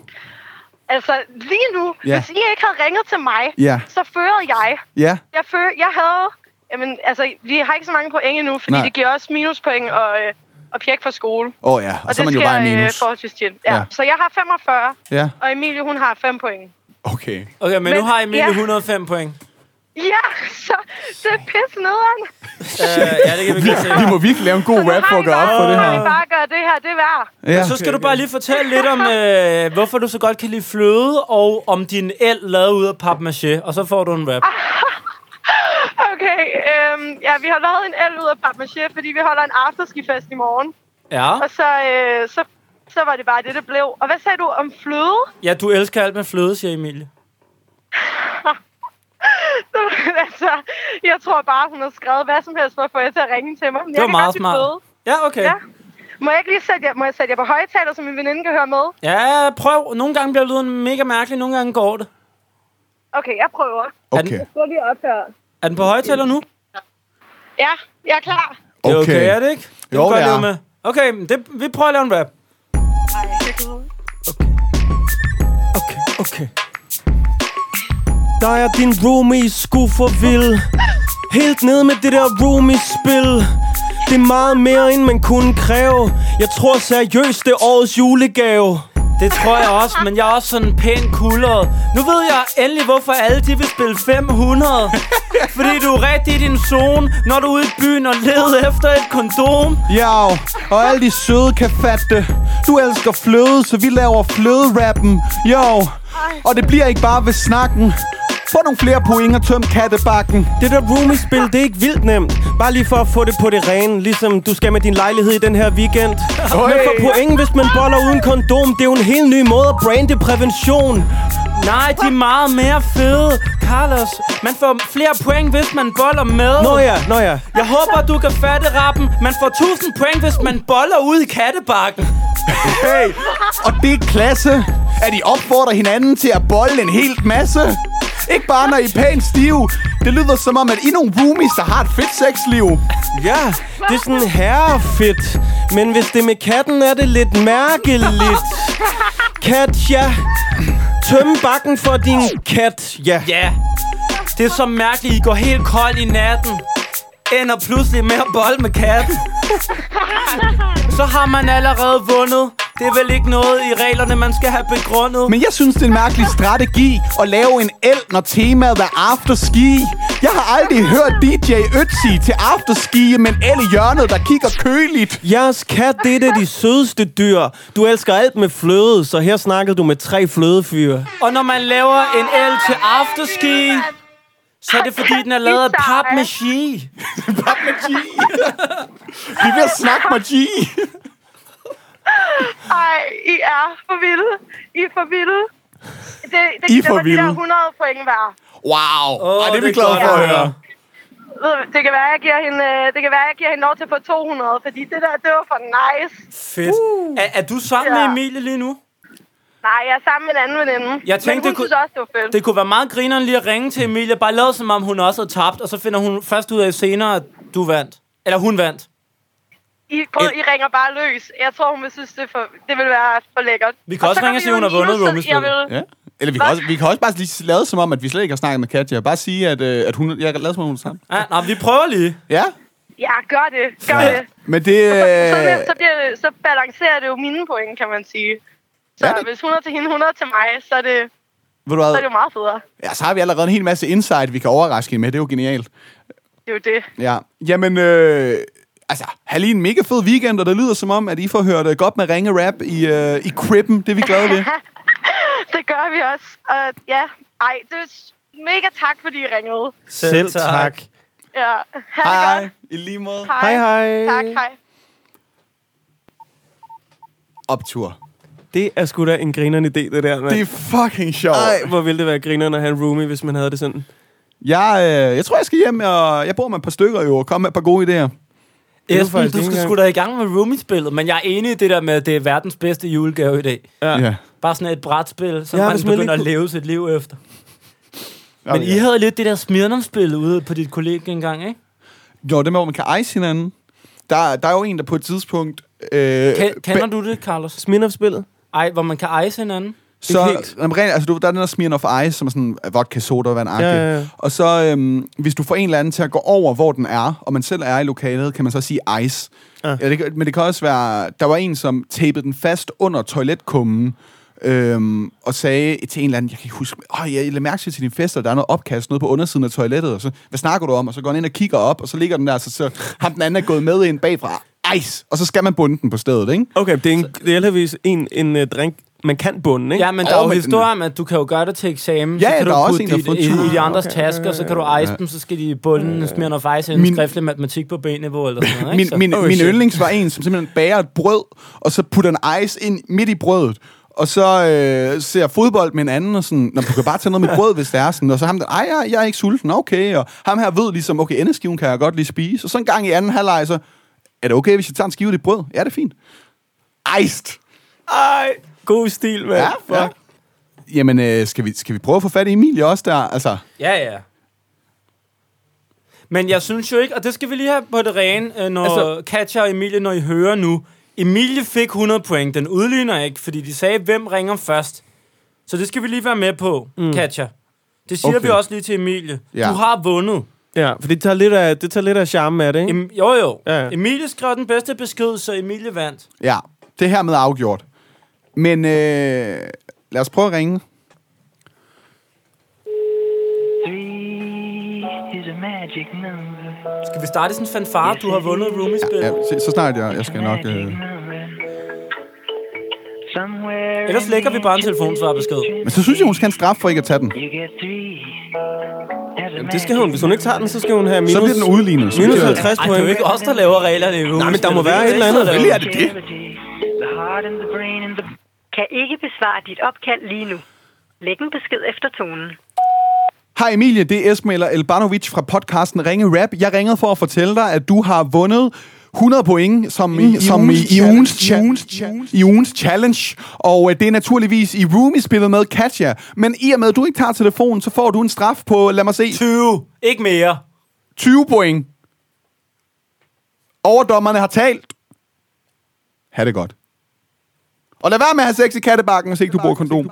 Speaker 6: Altså, lige nu,
Speaker 1: Ja.
Speaker 6: ja. hvis I ikke havde ringet til mig,
Speaker 1: Ja.
Speaker 6: så førede jeg.
Speaker 1: Ja.
Speaker 6: Jeg, fører, jeg havde... Jamen, altså, vi har ikke så mange point endnu, fordi
Speaker 1: Nej.
Speaker 6: Nej. det giver også minuspoint og, øh, og pjek for skole.
Speaker 1: Åh oh, ja, og, og så er man jo bare en
Speaker 6: øh,
Speaker 1: minus.
Speaker 6: forholdsvis tit. Ja.
Speaker 1: Ja.
Speaker 6: ja. Så jeg har 45,
Speaker 1: Ja,
Speaker 6: og Emilie, hun har 5 point.
Speaker 1: okay.
Speaker 2: Okay, men, men
Speaker 6: Men-
Speaker 2: nu har Emilie
Speaker 6: ja.
Speaker 2: 105 point.
Speaker 6: Ja, så det er pisse nederen.
Speaker 2: Øh, ja, det kan vi godt se.
Speaker 1: Vi må virkelig lave en god
Speaker 6: Nu
Speaker 1: rap
Speaker 6: har
Speaker 1: for at
Speaker 6: I
Speaker 1: gøre op
Speaker 6: bare-
Speaker 1: for det
Speaker 6: nu har
Speaker 1: her.
Speaker 6: I bare gør det her, det er værd.
Speaker 1: Ja.
Speaker 2: Så skal du bare lige fortælle lidt om, øh, hvorfor du så godt kan lide fløde, og om din el lavet ud af papmaché, og så får du en rap.
Speaker 6: Ah, Okay, øhm, ja, vi har lavet en el ud af papmaché, fordi vi holder en afterski-fest i morgen.
Speaker 2: Ja,
Speaker 6: Og så, øh, så, så var det bare det, det blev. Og hvad sagde du om fløde?
Speaker 2: ja du elsker alt med fløde, siger Emilie.
Speaker 6: altså, jeg tror bare, hun har skrevet hvad som helst for at få jer til at ringe til mig. Men
Speaker 2: Det
Speaker 6: jeg
Speaker 2: var
Speaker 6: kan
Speaker 2: meget
Speaker 6: godt lide
Speaker 2: smart.
Speaker 6: fløde.
Speaker 2: Ja, okay.
Speaker 6: Ja. Må jeg ikke lige sætte jer, må jeg sætte jer på højtaler, så min veninde kan høre med?
Speaker 2: Ja, prøv. Nogle gange bliver lyden mega mærkelig, nogle gange går det.
Speaker 6: Okay, jeg prøver.
Speaker 1: Okay,
Speaker 6: Gå lige op her.
Speaker 2: Er den på højtaler nu?
Speaker 6: Ja, jeg er klar.
Speaker 2: Det er okay,
Speaker 1: okay.
Speaker 2: er det ikke? Det
Speaker 1: Jo,
Speaker 2: kan godt
Speaker 1: det er.
Speaker 2: leve Med. Okay, men det, vi prøver at lave en rap.
Speaker 4: Okay, okay. Dig og din roomie skulle for vild Helt ned med det der roomie-spil Det er meget mere, end man kunne kræve Jeg tror seriøst, det er årets julegave
Speaker 2: Det tror jeg også, men jeg er også sådan pæn kulderet. Nu ved jeg endelig, hvorfor alle de vil spille 500. Fordi du er rigtig i din zone, når du er ude i byen og leder efter et kondom.
Speaker 1: Ja, og alle de søde kan fatte det. Du elsker fløde, så vi laver fløderappen. Jo, og det bliver ikke bare ved snakken. Få nogle flere point og tøm kattebakken.
Speaker 4: Det der roomie-spil, det er ikke vildt nemt Bare lige for at få det på det rene Ligesom du skal med din lejlighed i den her weekend Men for point, hvis man boller uden kondom Det er jo en helt ny måde at brande prævention
Speaker 2: Nej, de er meget mere fede, Carlos. Man får flere point, hvis man boller med.
Speaker 4: Nå ja, nå ja
Speaker 2: Jeg håber, du kan fatte rappen. Man får 1000 point, hvis man boller ude i kattebakken.
Speaker 1: Hey, og det er klasse, at I opfordrer hinanden til at bolle en helt masse. Ikke bare når I er pænt stive. Det lyder som om, at I er nogle roomies, der har et fedt sexliv.
Speaker 4: Ja, det er sådan herrefedt. Men hvis det er med katten, er det lidt mærkeligt. Kat, ja. Tøm bakken for din kat, ja.
Speaker 2: Ja, det er så mærkeligt, I går helt kold i natten. Ender pludselig med at bold med katten. Så har man allerede vundet. Det er vel ikke noget i reglerne, man skal have begrundet.
Speaker 1: Men jeg synes, det er en mærkelig strategi at lave en el, når temaet er afterski. Jeg har aldrig hørt DJ Ötzi til afterski, men el i hjørnet, der kigger køligt.
Speaker 4: Jeres kat, det er det de sødeste dyr. Du elsker alt med fløde, så her snakkede du med tre flødefyre.
Speaker 2: Og når man laver en el til afterski, så er det fordi, den er lavet af papmaché.
Speaker 1: Vi er ved at snakke med G.
Speaker 6: Ej, I er for vilde. I er for vilde. Det, det,
Speaker 1: I er
Speaker 6: det
Speaker 1: for
Speaker 6: var de
Speaker 1: vilde.
Speaker 6: der 100 point værd.
Speaker 1: Wow,
Speaker 2: Åh,
Speaker 1: Ej, det er vi
Speaker 2: det er
Speaker 1: glade
Speaker 2: godt
Speaker 1: for at
Speaker 2: at
Speaker 1: høre.
Speaker 2: høre.
Speaker 6: Ved du, Det kan være, jeg giver hende, øh, det kan være, jeg giver hende lov til at få 200, fordi det der, det var for nice.
Speaker 2: Fedt. Er, er du sammen med
Speaker 6: Ja.
Speaker 2: Emilie lige nu?
Speaker 6: Nej, jeg er sammen med en anden veninde.
Speaker 2: Jeg tænkte,
Speaker 6: Men hun
Speaker 2: det kunne-
Speaker 6: synes også, det var fedt.
Speaker 2: Det kunne være meget grineren lige at ringe til Emilie og bare lade som om, hun også havde tabt, og så finder hun først ud af senere, at du vandt. Eller hun vandt.
Speaker 6: I, prøv, I ringer bare løs. Jeg tror, hun vil synes, det, er for, det vil være for lækkert.
Speaker 2: Vi kan
Speaker 6: Og
Speaker 2: også
Speaker 6: så
Speaker 2: ringe og
Speaker 6: vi
Speaker 2: sige,
Speaker 6: jo
Speaker 2: hun har
Speaker 6: i
Speaker 2: vundet
Speaker 6: minus, så
Speaker 2: rummespillet.
Speaker 6: jeg vil-
Speaker 1: Ja. Eller vi kan, også, vi kan også bare lige lade som om, at vi slet ikke har snakket med Katja. Bare sige, at, øh, at hun, jeg kan lade som om, hun er sammen.
Speaker 2: Ja, nå, vi prøver lige.
Speaker 1: Ja,
Speaker 6: Ja, gør det. Gør det.
Speaker 1: men det...
Speaker 6: Så,
Speaker 1: Øh,
Speaker 6: så, bliver, det- så balancerer det jo mine point, kan man sige. Så
Speaker 1: Ja, det-
Speaker 6: hvis 100 til hende, 100 til mig, så er det,
Speaker 1: ved du
Speaker 6: så
Speaker 1: hvad?
Speaker 6: er det jo meget federe.
Speaker 1: Ja, så har vi allerede en hel masse insight, vi kan overraske hende med. Det er jo genialt.
Speaker 6: Det er jo det.
Speaker 1: Ja. Jamen, øh, altså, have lige en mega fed weekend, og det lyder som om, at I får hørt øh, godt med ringe rap i, øh, i kribben. Det er vi glade ved.
Speaker 6: Det gør vi også. Og ja, ej, det er s- mega tak, fordi I ringede.
Speaker 4: Selv tak.
Speaker 6: Ja, ha' det godt.
Speaker 1: I lige måde.
Speaker 6: Hej.
Speaker 4: Hej, hej.
Speaker 6: Tak, hej.
Speaker 1: Optur.
Speaker 4: Det er sgu da en grineren idé, det der, mand.
Speaker 1: Det er fucking sjovt.
Speaker 4: Ej, hvor ville det være grineren at have en roomie, hvis man havde det sådan.
Speaker 1: Jeg, øh, jeg tror, jeg skal hjem, og jeg bor med et par stykker jo, og komme med et par gode idéer.
Speaker 4: er jo
Speaker 2: Esben,
Speaker 4: faktisk
Speaker 2: du skal
Speaker 4: ikke engang-
Speaker 2: sgu da i gang med roomie-spillet, men jeg er enig i det der med, at det er verdens bedste julegave i dag.
Speaker 4: Ja.
Speaker 1: ja.
Speaker 2: Bare sådan et brætspil, som
Speaker 4: Ja,
Speaker 2: ja, man
Speaker 4: hvis man lige
Speaker 2: begynder at
Speaker 4: kunne-
Speaker 2: leve sit liv efter.
Speaker 1: Okay.
Speaker 2: Men I havde lidt det der Smirnum-spil ude på dit kollega engang, ikke?
Speaker 1: Jo, det med, hvor man kan ejse hinanden. Der, der er jo en, der på et tidspunkt... Øh,
Speaker 2: Ken, kender
Speaker 1: ba-
Speaker 2: du det, Carlos?
Speaker 4: Smirnoff-spillet?
Speaker 2: Ej, hvor man kan ejse hinanden.
Speaker 1: så,
Speaker 4: Ikke helt.
Speaker 1: jamen, rent, altså, du, der er den der Smirnoff Ice, som er sådan øh, vodka sodavand ja,
Speaker 4: Ja, ja, ja.
Speaker 1: Og så, øhm, hvis du får en eller anden til at gå over, hvor den er, og man selv er i lokalet, kan man så sige ice. Ja. Ja, det, kan- men det kan også være... Der var en, som tapede den fast under toiletkummen, Øhm, og sagde til en eller anden, jeg kan ikke huske, åh, jeg lagde mærke til til din fest, og der er noget opkast nede på undersiden af toilettet, og så, hvad snakker du om? Og så går han ind og kigger op, og så ligger den der, så, så ham den anden er gået med ind bagfra, ice, og så skal man bunde den på stedet, ikke?
Speaker 4: Okay, det er, en, det er heldigvis en, en uh, drink, man kan bunde, ikke?
Speaker 2: Ja, men der er
Speaker 1: Åh,
Speaker 2: jo
Speaker 1: men-
Speaker 2: historier om, at du kan jo gøre det til eksamen.
Speaker 1: Ja,
Speaker 2: så
Speaker 1: ja,
Speaker 2: kan
Speaker 1: der
Speaker 2: du
Speaker 1: er også
Speaker 2: putte
Speaker 1: en, der har
Speaker 2: dit
Speaker 1: fået
Speaker 2: i, i, de
Speaker 1: tusind.
Speaker 2: andres tasker, så kan du ejse dem, så skal de i bunden ja. smirne faktisk en
Speaker 1: Min-
Speaker 2: skriftlig matematik på B-niveau eller sådan noget,
Speaker 1: Min,
Speaker 2: ikke? Så-
Speaker 1: min,
Speaker 4: Oh,
Speaker 1: oh, min
Speaker 4: shit.
Speaker 1: yndlings var en, som simpelthen bager et brød, og så putter en ice ind midt i brødet. Og så øh, ser jeg fodbold med en anden, og sådan, Nå, men du kan bare tage noget med brød, hvis det er sådan. Og så ham der, ej, jeg, jeg er ikke sulten, okay. Og ham her ved ligesom, okay, endeskiven kan jeg godt lige spise. Og så en gang i anden halvleg, så er det okay, hvis jeg tager en skive af dit brød? Ja, det er fint. Iced!
Speaker 4: Ej, god stil, mand.
Speaker 1: Ja, ja. Jamen, øh, skal, vi, skal vi prøve at få fat i Emilie også der? Altså,
Speaker 2: Ja, ja. Men jeg synes jo ikke, og det skal vi lige have på det rene, øh, når altså,
Speaker 4: Altså-
Speaker 2: Katja og Emilie, når I hører nu. Emilie fik 100 point, den udligner ikke, fordi de sagde, hvem ringer først. Så det skal vi lige være med på, mm. Katja. Det siger
Speaker 1: Okay.
Speaker 2: vi også lige til Emilie. Ja.
Speaker 1: Ja.
Speaker 2: Du har vundet.
Speaker 4: Ja, for det tager lidt af, det tager lidt af charmen af det, ikke?
Speaker 2: Em- jo, jo.
Speaker 4: Ja, ja.
Speaker 2: Emilie skrev den bedste besked, så Emilie vandt.
Speaker 1: ja, det er hermed afgjort. Men øh, lad os prøve at ringe.
Speaker 7: Three is a magic number.
Speaker 2: Skal vi starte i sådan en fanfare? Du har vundet roomie-spil.
Speaker 1: Ja,
Speaker 2: Ja,
Speaker 1: så, så snart jeg, jeg skal nok...
Speaker 7: Magic
Speaker 1: Øh,
Speaker 7: number. Somewhere
Speaker 2: Ellers
Speaker 7: in
Speaker 2: lægger vi bare en
Speaker 7: the
Speaker 2: telefonsvarbesked.
Speaker 1: Men så synes jeg, hun skal have en straf for ikke at tage den.
Speaker 7: You get three. There's a
Speaker 4: Jamen, det skal hun. Hvis hun ikke tager den, så skal hun have minus,
Speaker 1: Så bliver den udlignet. Så
Speaker 4: minus
Speaker 1: bliver-
Speaker 4: 50
Speaker 2: Ej, det er jo
Speaker 4: point.
Speaker 2: ikke os, der laver reglerne i roomie
Speaker 4: men der må være et eller andet.
Speaker 1: Selvfølgelig er det det.
Speaker 7: cavity. The heart and the brain and the
Speaker 8: Kan ikke besvare dit opkald lige nu. Læg en besked efter tonen.
Speaker 1: Hej Emilie, det er Esme eller Elbanovic fra podcasten Ringe Rap. Jeg ringede for at fortælle dig, at du har vundet 100 point som i, som i, i, ugens, cha- i ugens challenge. Og øh, det er naturligvis i roomie-spillet med Katja. Men i og med, at du ikke tager telefonen, så får du en straf på, lad mig se,
Speaker 2: 20. Ikke mere.
Speaker 1: 20 point. Overdommerne har talt. Ha' det godt. Og lad være med at have sex i kattebakken, hvis ikke du bruger kondom.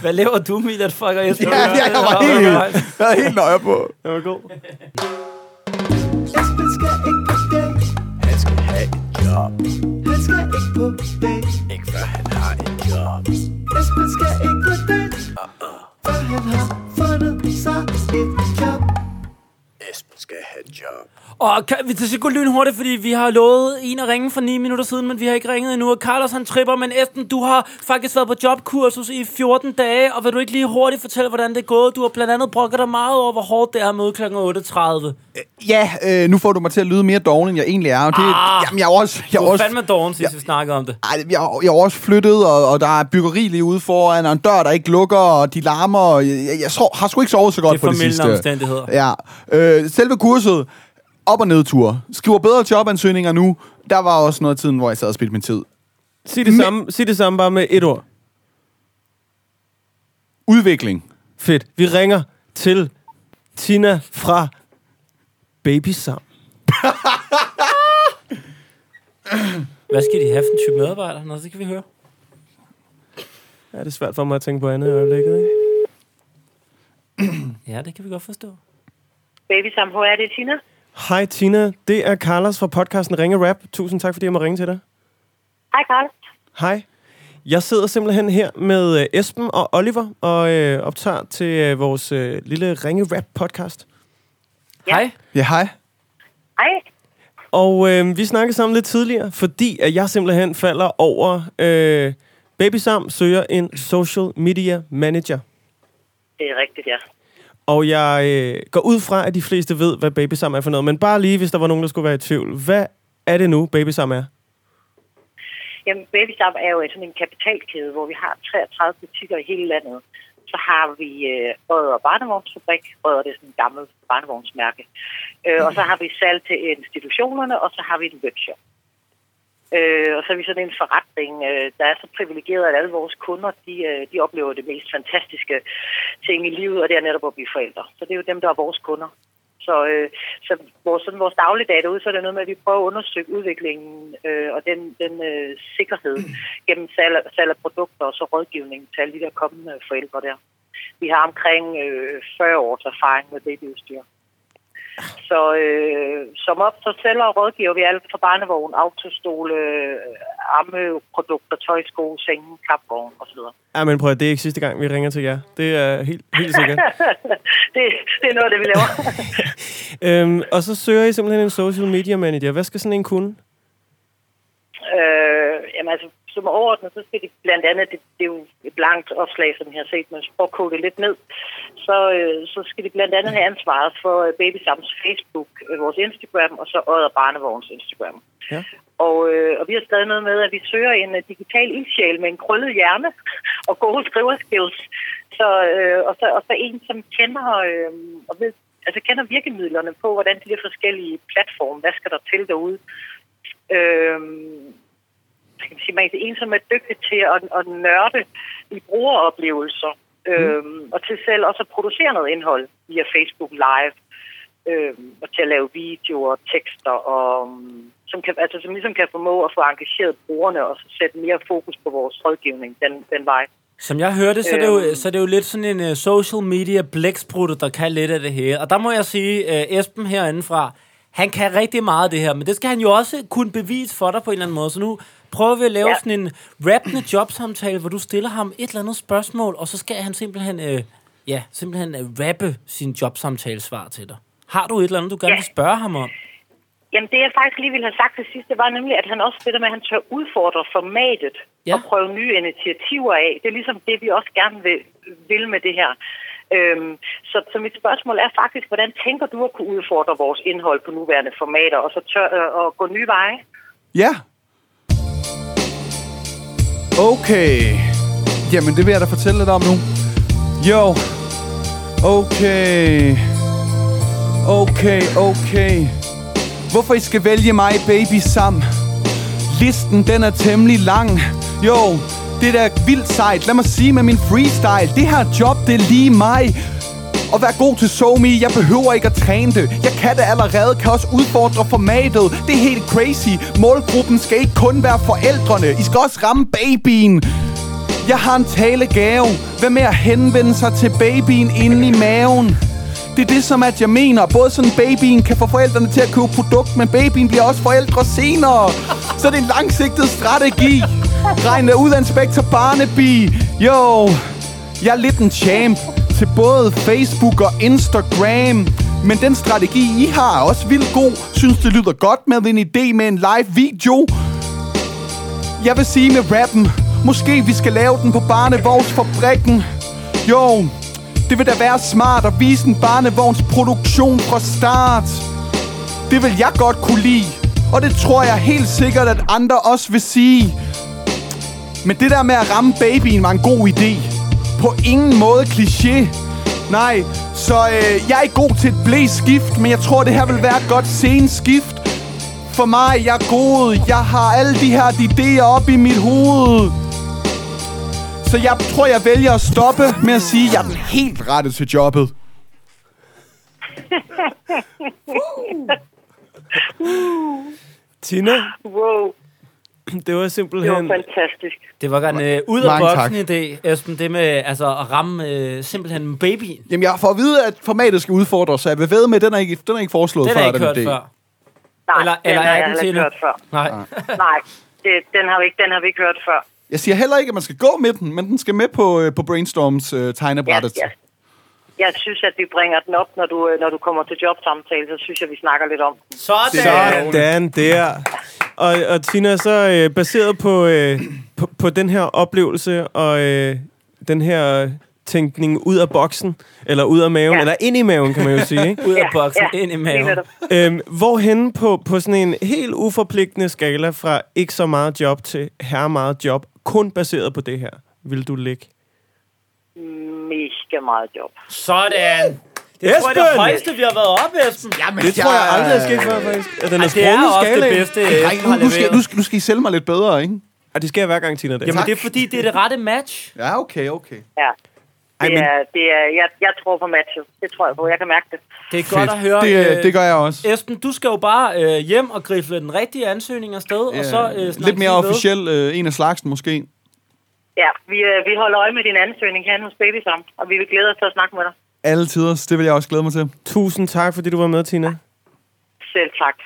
Speaker 2: Hvad laver du, Emil, at fucker jeg
Speaker 1: Ja, ja, jeg var helt, jeg var helt nøje på.
Speaker 4: Det var god.
Speaker 9: Esben skal ikke på date. Han skal have et job. Han skal ikke på date. Ikke før han har et job. Uh-uh. Esben skal ikke på date. Før han har fundet sig et job. Esben skal have et job.
Speaker 2: Og kan, vi det skal gå lynhurtigt, fordi vi har lovet en at ringe for 9 minutter siden, men vi har ikke ringet endnu. Og Carlos han tripper, men Esben, du har faktisk været på jobkursus i 14 dage, og vil du ikke lige hurtigt fortælle, hvordan det er gået? Du har blandt andet brokket dig meget over, hvor hårdt det er at møde kl. 8.30.
Speaker 1: Ja, øh, nu får du mig til at lyde mere doven, end jeg egentlig er. Og det,
Speaker 2: Ah!
Speaker 1: ah, jamen, jeg er også... Jeg
Speaker 2: Du
Speaker 1: er
Speaker 2: var
Speaker 1: også
Speaker 2: fandme doven, sidst vi snakkede om det.
Speaker 1: ej, jeg, er- jeg er også flyttet, og, og der er byggeri lige ude foran, og en dør, der ikke lukker, og de larmer, og jeg, jeg, jeg sov, har sgu ikke sovet så godt
Speaker 2: Det er
Speaker 1: på det
Speaker 2: formildende
Speaker 1: sidste.
Speaker 2: omstændigheder.
Speaker 1: Ja. Øh, selve kurset, op- og nedture. Skriver bedre jobansøgninger nu. Der var også noget af tiden, hvor jeg sad og spildte min tid.
Speaker 4: Sig det, samme, sig det samme bare med et ord.
Speaker 1: Udvikling.
Speaker 4: Fedt. Vi ringer til Tina fra Baby Sam.
Speaker 2: Hvad skal de have for en type medarbejder? Nå, det kan vi høre.
Speaker 4: Ja, det er svært for mig at tænke på andet i øjeblikket, ikke?
Speaker 2: Ja, det kan vi godt forstå.
Speaker 8: Baby Sam, hvor er det, Tina?
Speaker 4: Hej Tina, det er Carlos fra podcasten Ringe Rap. Tusind tak, fordi jeg må ringe til dig.
Speaker 8: Hej, Carl.
Speaker 4: Hej. Jeg sidder simpelthen her med øh, Esben og Oliver og øh, optager til øh, vores øh, lille Ringe Rap podcast.
Speaker 2: Ja. Hej.
Speaker 1: Ja, hej.
Speaker 6: Hej.
Speaker 4: Og øh, vi snakkede sammen lidt tidligere, fordi at jeg simpelthen falder over... Øh, Babysam søger en social media manager.
Speaker 10: Det er rigtigt, ja.
Speaker 4: Og jeg øh, går ud fra, at de fleste ved, hvad Babysam er for noget. Men bare lige, hvis der var nogen, der skulle være i tvivl. Hvad er det nu, Babysam er?
Speaker 10: Jamen, Babysam er jo sådan en kapitalkæde, hvor vi har 33 butikker i hele landet. Så har vi øh, Odder Barnevognsfabrik. Odder det er sådan en gammel barnevognsmærke. Øh, og så har vi salg til institutionerne, og så har vi en webshop. Øh, og så er vi sådan en forretning, øh, der er så privilegeret, at alle vores kunder, de, øh, de oplever det mest fantastiske ting i livet, og det er netop at blive forældre. Så det er jo dem, der er vores kunder. Så, øh, så vores, sådan vores dagligdag derude, så er det noget med, at vi prøver at undersøge udviklingen øh, og den, den øh, sikkerhed gennem salg, af- salg af produkter og så rådgivning til alle de der kommende forældre der. Vi har omkring øh, 40 års erfaring med babyudstyr. Så øh, som op, så sælger og rådgiver vi alt fra barnevogn, autostole, øh, ammeprodukter, tøjsko, senge, kapvogn osv.
Speaker 4: Ej, men prøv at det er ikke sidste gang, vi ringer til jer. Det er helt, helt sikkert.
Speaker 10: det, det er noget af det, vi laver.
Speaker 4: øhm, og så søger I simpelthen en social media manager. Hvad skal sådan en kunne?
Speaker 10: Øh, jamen altså, som overordnet, så skal de blandt andet, det, det er jo et langt opslag, som jeg har set, men for at kode det lidt ned, så, øh, så skal de blandt andet have ansvaret for øh, Babysams Facebook, øh, vores Instagram, og så Odder Barnevogns Instagram.
Speaker 4: Ja.
Speaker 10: Og, øh, og vi har skrevet noget med, at vi søger en øh, digital ildsjæl med en krøllet hjerne og gode skriverskills. Så, øh, og, så, og så en, som kender, øh, og ved, altså kender virkemidlerne på, hvordan de der forskellige platforme, hvad skal der til derude. Øh, kan man sige, man er en, som er dygtig til at, at nørde i brugeroplevelser, øhm, og til selv også at producere noget indhold via Facebook Live, øhm, og til at lave videoer, tekster, og, øhm, som, kan, altså, som ligesom kan formå at få engageret brugerne og så sætte mere fokus på vores rådgivning den, den vej.
Speaker 2: Som jeg hørte, så er det jo,
Speaker 10: Øhm.
Speaker 2: så er det jo lidt sådan en uh, social media blæksprutte, der kan lidt af det her. Og der må jeg sige, uh, Esben herindefra, han kan rigtig meget af det her, men det skal han jo også kunne bevise for dig på en eller anden måde. Så nu prøver vi at lave ja.
Speaker 10: Ja.
Speaker 2: sådan en rappende jobsamtale, hvor du stiller ham et eller andet spørgsmål, og så skal han simpelthen, uh, ja, simpelthen uh, rappe sin jobsamtalesvar til dig. Har du et eller andet, du gerne
Speaker 10: Ja.
Speaker 2: vil spørge ham om?
Speaker 10: Jamen det, jeg faktisk lige ville have sagt til sidst, det var nemlig, at han også det der med, at han tør udfordre formatet
Speaker 2: Ja.
Speaker 10: ja. og prøve nye initiativer af. Det er ligesom det, vi også gerne vil, vil med det her. Øhm, så, så mit spørgsmål er faktisk, hvordan tænker du at kunne udfordre vores indhold på nuværende formater, og så tør øh, og gå nye veje?
Speaker 1: Ja. Okay. Jamen, det vil jeg da fortælle lidt om nu. Jo. Okay. Okay, okay. Hvorfor I skal vælge mig, baby, sam? Listen, den er temmelig lang. Jo, det der vildt sejt. Lad mig sige med min freestyle. Det her job, det er lige mig. Og vær god til SoMe, jeg behøver ikke at træne det Jeg kan det allerede, kan også udfordre formatet Det er helt crazy Målgruppen skal ikke kun være forældrene I skal også ramme babyen Jeg har en talegave Hvad med at henvende sig til babyen inde i maven? Det er det, som at jeg mener. Både sådan babyen kan få forældrene til at købe produkt, men babyen bliver også forældre senere. Så det er en langsigtet strategi. Regn det ud af Inspektor Barnaby. Jo, jeg er lidt en champ til både Facebook og Instagram. Men den strategi, I har, er også vildt god. Synes, det lyder godt med en idé med en live video. Jeg vil sige med rappen, måske vi skal lave den på barnevognsfabrikken. Jo, det vil da være smart at vise en barnevognsproduktion fra start. Det vil jeg godt kunne lide, og det tror jeg helt sikkert, at andre også vil sige. Men det der med at ramme babyen var en god idé. På ingen måde kliché. Nej, så øh, jeg er ikke god til et blæskift, men jeg tror, det her vil være et godt senskift. For mig, jeg er god. Jeg har alle de her idéer op i mit hoved. Så jeg tror, jeg vælger at stoppe med at sige, at jeg er den helt rette til jobbet.
Speaker 4: Tina,
Speaker 10: wow,
Speaker 4: det var
Speaker 10: det var
Speaker 4: simpelthen...
Speaker 10: fantastisk.
Speaker 2: Det var en øh, ud af
Speaker 1: Mange tak.
Speaker 2: boksen idé, Esben, det med altså, at ramme øh, simpelthen babyen.
Speaker 1: Jamen, jeg får at vide, at formatet skal udfordres, så jeg vil ved med, at den er ikke, den er ikke foreslået
Speaker 2: Det har
Speaker 1: før,
Speaker 2: jeg
Speaker 1: den
Speaker 2: ikke hørt
Speaker 1: idé.
Speaker 2: før.
Speaker 10: Nej,
Speaker 2: Eller-
Speaker 10: den
Speaker 2: eller
Speaker 10: har
Speaker 2: er
Speaker 10: jeg
Speaker 2: den
Speaker 10: heller
Speaker 2: til
Speaker 10: ikke
Speaker 2: nu?
Speaker 10: hørt før.
Speaker 2: Nej.
Speaker 10: Nej, det, den, har vi ikke, den har vi ikke hørt før.
Speaker 1: Jeg siger heller ikke, at man skal gå med den, men den skal med på, øh, på Brainstorms øh,
Speaker 10: Ja,
Speaker 1: tegnebrættet.
Speaker 10: ja. Jeg synes, at vi bringer den op, når du, øh, når du kommer til jobsamtale, så synes jeg, vi snakker lidt om den.
Speaker 4: Sådan der. Og, og Tina, så øh, baseret på, øh, på, på den her oplevelse og øh, den her øh, tænkning ud af boksen, eller ud af maven, ja. eller ind i maven, kan man jo sige. Ikke?
Speaker 2: Ud af Ja, boksen, ja, ind i maven. lige netop.
Speaker 4: Øhm, hvorhen på, på sådan en helt uforpligtende skala fra ikke så meget job til her meget job, kun baseret på det her, vil du ligge?
Speaker 10: Mega meget job.
Speaker 2: Sådan. Det tror jeg er det
Speaker 4: Esben!
Speaker 2: højeste, vi har været oppe, Esben. Jamen,
Speaker 4: Det tror jeg aldrig er sket før, faktisk. At den er
Speaker 2: Ej, det er
Speaker 4: sprunget
Speaker 2: også det
Speaker 4: skalaen.
Speaker 2: bedste,
Speaker 4: Ej,
Speaker 2: Esben har
Speaker 4: nu- nu skal-
Speaker 2: leveret.
Speaker 4: nu
Speaker 1: skal, nu skal I sælge mig lidt bedre, ikke?
Speaker 4: Og det skal jeg hver gang, Tina.
Speaker 2: Jamen, det er fordi, det er det rette match.
Speaker 1: Ja, okay, okay.
Speaker 10: Ja.
Speaker 1: Ej,
Speaker 10: Det
Speaker 1: men-
Speaker 10: er, det er, jeg, jeg tror på matchet. Det tror jeg på. Jeg kan mærke det.
Speaker 2: Det er godt
Speaker 1: Fedt.
Speaker 2: at høre.
Speaker 1: Det, øh, det gør jeg også.
Speaker 2: Esben, du skal jo bare øh, hjem og grifle den rigtige ansøgning afsted, og så øh, snakkes
Speaker 1: lidt mere
Speaker 2: vi ved.
Speaker 1: officiel øh, en af slagsen måske.
Speaker 10: Ja, vi, øh, vi holder øje med din ansøgning her hos Babysam, og vi vil glæde os til at snakke med dig.
Speaker 1: Alle tider, det vil jeg også glæde mig til.
Speaker 4: Tusind tak, fordi du var med, Tina.
Speaker 10: Selv tak.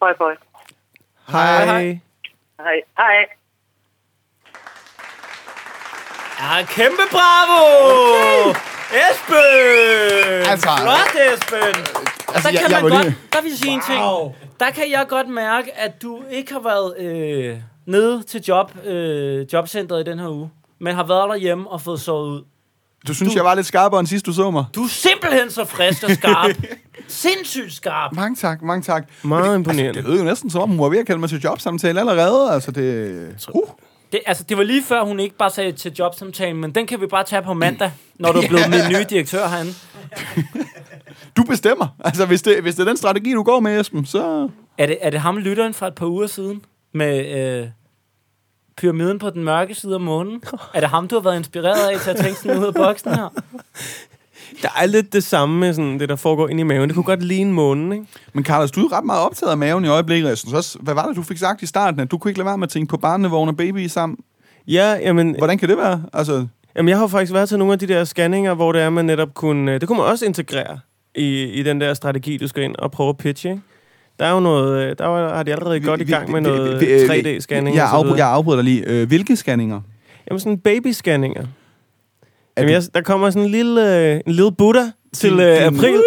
Speaker 10: Hej, hej.
Speaker 4: Hej.
Speaker 10: Hej. Hej. Hej.
Speaker 2: Ja, kæmpe bravo! Okay. Esben!
Speaker 1: Altså-
Speaker 2: Flot, Esben! Altså, der
Speaker 1: jeg-
Speaker 2: kan
Speaker 1: jeg
Speaker 2: man
Speaker 1: var
Speaker 2: godt,
Speaker 1: lige-
Speaker 2: der vil jeg sige en ting. Der kan jeg godt mærke, at du ikke har været øh, nede til job, øh, jobcentret i den her uge, men har været derhjemme og fået sovet ud.
Speaker 1: Du synes, du... jeg var lidt skarpere end sidst, du så mig?
Speaker 2: Du er simpelthen så frisk og skarp. Sindssygt skarp.
Speaker 1: Mange tak, mange tak.
Speaker 4: Meget
Speaker 1: imponerende. Altså, det lød jo næsten som om, hun var ved at kalde mig til jobsamtale allerede. Altså, det... Uh.
Speaker 2: Det, altså, det var lige før, hun ikke bare sagde til jobsamtalen, men den kan vi bare tage på mandag, når du er blevet min nye direktør herinde.
Speaker 1: Du bestemmer. Altså, hvis det, hvis det er den strategi, du går med, Esben, så...
Speaker 2: Er det, er det ham lytteren fra et par uger siden med øh, pyramiden på den mørke side af månen? Er det ham, du har været inspireret af til at tænke sådan ud af boksen her?
Speaker 4: Der er lidt det samme med sådan, det, der foregår inde i maven. Det kunne godt ligne månen, ikke?
Speaker 1: Men Carlos, du er ret meget optaget af maven i øjeblikket. Jeg synes også, hvad var det, du fik sagt i starten? At du kunne ikke lade være med at tænke på barnevogne og baby sammen.
Speaker 4: Ja, jamen...
Speaker 1: Hvordan kan det være? Altså,
Speaker 4: Jamen, jeg har jo faktisk været til nogle af de der scanninger, hvor det er, man netop kunne... øh, Det kunne man også integrere i, i den der strategi, du skal ind og prøve at pitche, ikke? Der er jo noget... øh, Der var- har de allerede godt i gang med noget
Speaker 1: øh,
Speaker 4: 3D-scanning
Speaker 1: Jeg,
Speaker 4: og så
Speaker 1: afbry-
Speaker 4: videre.
Speaker 1: jeg afbryder dig lige. Øh, Hvilke scanninger?
Speaker 4: Jamen sådan baby-scanninger. Jamen, jeg, der kommer sådan en lille, øh, en lille Buddha til øh, april.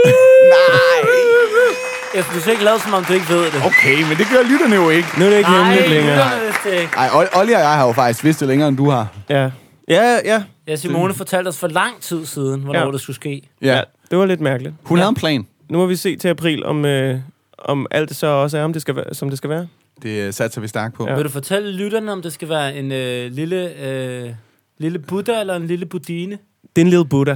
Speaker 2: Jeg synes ikke lade, som om du ikke ved det.
Speaker 1: Okay, men det gør lytterne jo ikke.
Speaker 4: Nu er det ikke
Speaker 2: Nej,
Speaker 4: hemmeligt længere.
Speaker 2: lytterne vidste det ikke.
Speaker 1: Ej, Ol- Olli og jeg har jo faktisk vidst det længere, end du har.
Speaker 4: Ja. Ja, ja.
Speaker 2: Ja, Simone fortalte os for lang tid siden, hvornår
Speaker 4: Ja.
Speaker 2: ja. det skulle ske.
Speaker 1: Ja.
Speaker 4: Det var lidt mærkeligt.
Speaker 1: Hun havde en plan.
Speaker 4: Nu må vi se til april, om, øh, om alt det så også er, om det skal være, som det skal være.
Speaker 1: Det satser vi stærkt på.
Speaker 2: Ja. Vil du fortælle lytterne, om det skal være en øh, lille, øh, lille Buddha eller en lille budine?
Speaker 4: Det er en lille Buddha.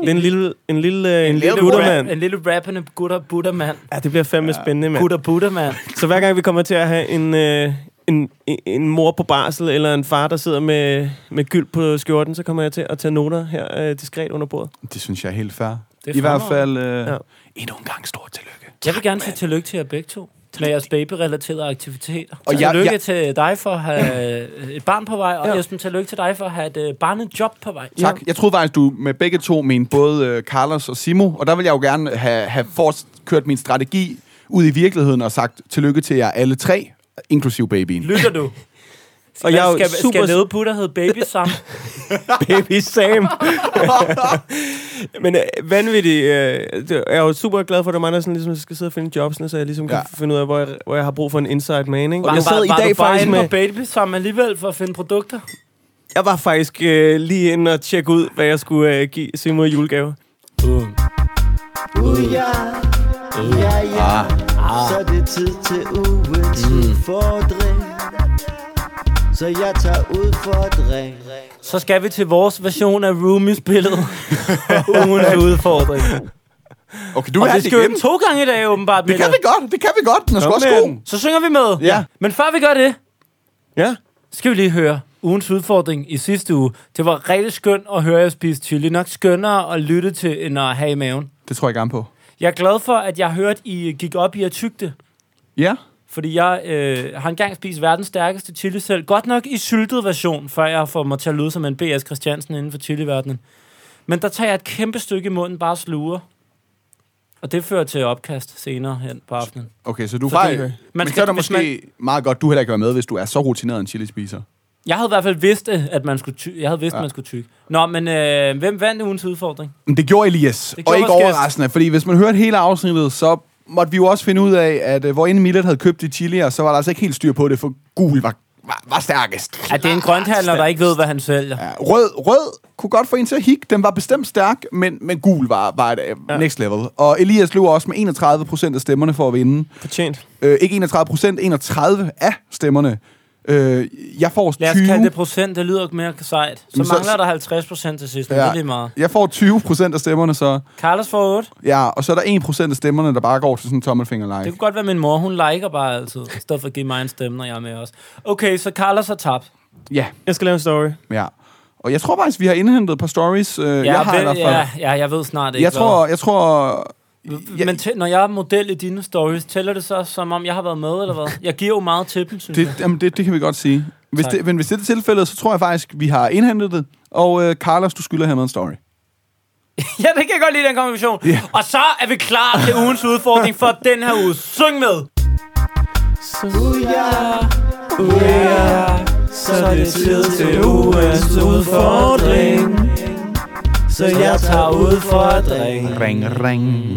Speaker 4: Det er en lille, en lille, øh, en lille Buddha-mand.
Speaker 2: En lille rappende gutter Buddha-mand.
Speaker 4: Ja, det bliver fandme ja. spændende, mand.
Speaker 2: Gutter Buddha-mand.
Speaker 4: Så hver gang vi kommer til at have en, øh, en, en- en mor på barsel, eller en far, der sidder med, med gyld på skjorten, så kommer jeg til at tage noter her øh, diskret under bordet.
Speaker 1: Det synes jeg er helt fair.
Speaker 2: Det
Speaker 1: Det
Speaker 2: er
Speaker 1: I hvert fald
Speaker 2: fremragende.
Speaker 1: øh,
Speaker 4: Ja.
Speaker 1: ja. endnu en gang stort tillykke.
Speaker 2: Jeg vil gerne sige tillykke til jer begge to med jeres babyrelaterede aktiviteter. Og
Speaker 1: Og
Speaker 2: jeg,
Speaker 1: jeg-
Speaker 2: tillykke
Speaker 1: jeg-
Speaker 2: til dig for at have øh, et barn på vej, og
Speaker 4: Ja.
Speaker 2: ja. Esben, tillykke til dig for at have et øh, barnejob på vej.
Speaker 1: Tak. Jeg troede faktisk, du med begge to mente både øh, Carlos og Simo, og der vil jeg jo gerne have, have forst kørt min strategi ud i virkeligheden og sagt tillykke til jer alle tre, inklusive babyen.
Speaker 2: Lytter du?
Speaker 4: Og jeg er jo
Speaker 2: skal,
Speaker 4: super-
Speaker 2: skal nødputter hedde Baby Sam?
Speaker 4: Baby Sam. Men øh, vanvittigt. Øh, det- jeg er jo super glad for, at der er mange, der sådan, ligesom, skal sidde og finde jobsene, så jeg ligesom kan
Speaker 1: Ja.
Speaker 4: finde ud af, hvor jeg, hvor jeg har brug for en inside man. Ikke?
Speaker 2: Var,
Speaker 4: jeg sad
Speaker 2: var,
Speaker 4: i
Speaker 2: var
Speaker 4: dag
Speaker 2: du bare
Speaker 4: faktisk
Speaker 2: inde
Speaker 4: med...
Speaker 2: på Baby Sam alligevel for at finde produkter?
Speaker 4: Jeg var faktisk øh, lige inde og tjekke ud, hvad jeg skulle øh, give Simon i julegave.
Speaker 2: Uh.
Speaker 9: Uh, ja. Ja, ja. Så er det tid til ugens udfordring. Så jeg tager udfordring.
Speaker 2: Så skal vi til vores version af Roomies-billedet. Ugens udfordring.
Speaker 1: Okay, du
Speaker 2: Og
Speaker 1: vil have
Speaker 2: det
Speaker 1: det
Speaker 2: skal jo
Speaker 1: igen.
Speaker 2: to gange i dag, åbenbart.
Speaker 1: Det kan
Speaker 2: Mette.
Speaker 1: vi godt, det kan vi godt. Den er sgu
Speaker 4: Kom
Speaker 1: også
Speaker 4: med
Speaker 1: god.
Speaker 2: Så synger vi med.
Speaker 1: Ja.
Speaker 2: Men før vi gør det,
Speaker 4: Ja.
Speaker 2: skal vi lige høre ugens udfordring i sidste uge. Det var rigtig skønt at høre jer spise chili. Nok skønnere at lytte til, end at have i maven.
Speaker 1: Det tror jeg gerne på.
Speaker 2: Jeg er glad for, at jeg hørte, I gik op i at tygte.
Speaker 1: Ja.
Speaker 2: Fordi jeg øh, har engang spist verdens stærkeste chili selv. Godt nok i syltet version, før jeg får mig til at lyde som en B.S. Christiansen inden for chiliverdenen. Men der tager jeg et kæmpe stykke i munden, bare sluger. Og det fører til opkast senere hen på aftenen.
Speaker 1: Okay, så du
Speaker 2: Fordi-
Speaker 1: fejl.
Speaker 2: Man
Speaker 1: Men
Speaker 2: skal-
Speaker 1: så er det
Speaker 2: hvis
Speaker 1: måske meget godt, du heller ikke kan være med, hvis du er så rutineret en chili-spiser.
Speaker 2: Jeg havde i hvert fald vidst, øh, at man skulle ty- jeg havde vidst, ja. man skulle tykke. Nå, men øh, hvem vandt ugens udfordring?
Speaker 1: Men det gjorde Elias,
Speaker 2: Det
Speaker 1: det
Speaker 2: gjorde
Speaker 1: gjorde og ikke
Speaker 2: vores gæst.
Speaker 1: overraskende, fordi hvis man hørte hele afsnittet, så måtte vi jo også finde ud af, at uh, hvor inden Millet havde købt de chilier, så var der altså ikke helt styr på det, for gul var, var, var stærkest.
Speaker 2: At det er en grønthandler, der ikke ved, hvad han sælger. Ja.
Speaker 1: Rød, rød kunne godt få en til at higge, den var bestemt stærk, men, men gul var, var et ja. next level. Og Elias løb også med 31 procent af stemmerne for at vinde.
Speaker 4: Fortjent.
Speaker 1: Øh, ikke 31 procent, 31 af stemmerne. Øh, jeg får
Speaker 2: Lad os
Speaker 1: 20...
Speaker 2: kalde det procent, det lyder mere sejt. Så
Speaker 1: Jamen, så-
Speaker 2: mangler der 50 procent til sidst, men det er lige meget.
Speaker 1: Jeg får 20 procent af stemmerne, så...
Speaker 2: Carlos får 8.
Speaker 1: Ja, og så er der 1 procent af stemmerne, der bare går til sådan en tommelfinger
Speaker 2: Det
Speaker 1: like.
Speaker 2: kunne godt være min mor, hun liker bare altid, i stedet for at give mig en stemme, når jeg er med også. Okay, så Carlos har tabt.
Speaker 1: Ja,
Speaker 4: Jeg skal lave en story.
Speaker 1: ja. Og jeg tror faktisk, vi har indhentet et par stories. Øh, jeg har i
Speaker 2: ved,
Speaker 1: hvert fald.
Speaker 2: ja, ja, jeg ved snart ikke,
Speaker 1: jeg, tror, jeg tror...
Speaker 2: hvad. Men tæ- når jeg er model i dine stories, tæller det så, som om jeg har været med, eller hvad? Jeg giver jo meget til dem, synes det,
Speaker 1: Det,
Speaker 2: jeg.
Speaker 1: jamen, det, det kan vi godt sige. Hvis
Speaker 2: Tak.
Speaker 1: det, men hvis det er tilfældet, så tror jeg faktisk, vi har indhentet det. Og øh, Carlos, du skylder hermed en story.
Speaker 2: Ja, det kan jeg godt lide, den konklusion. Yeah. Og så er vi klar til ugens udfordring for den her uge. Syng med!
Speaker 4: Så er det tid til ugens udfordring. Så jeg tager ud for at drenge.
Speaker 1: Ring, ring.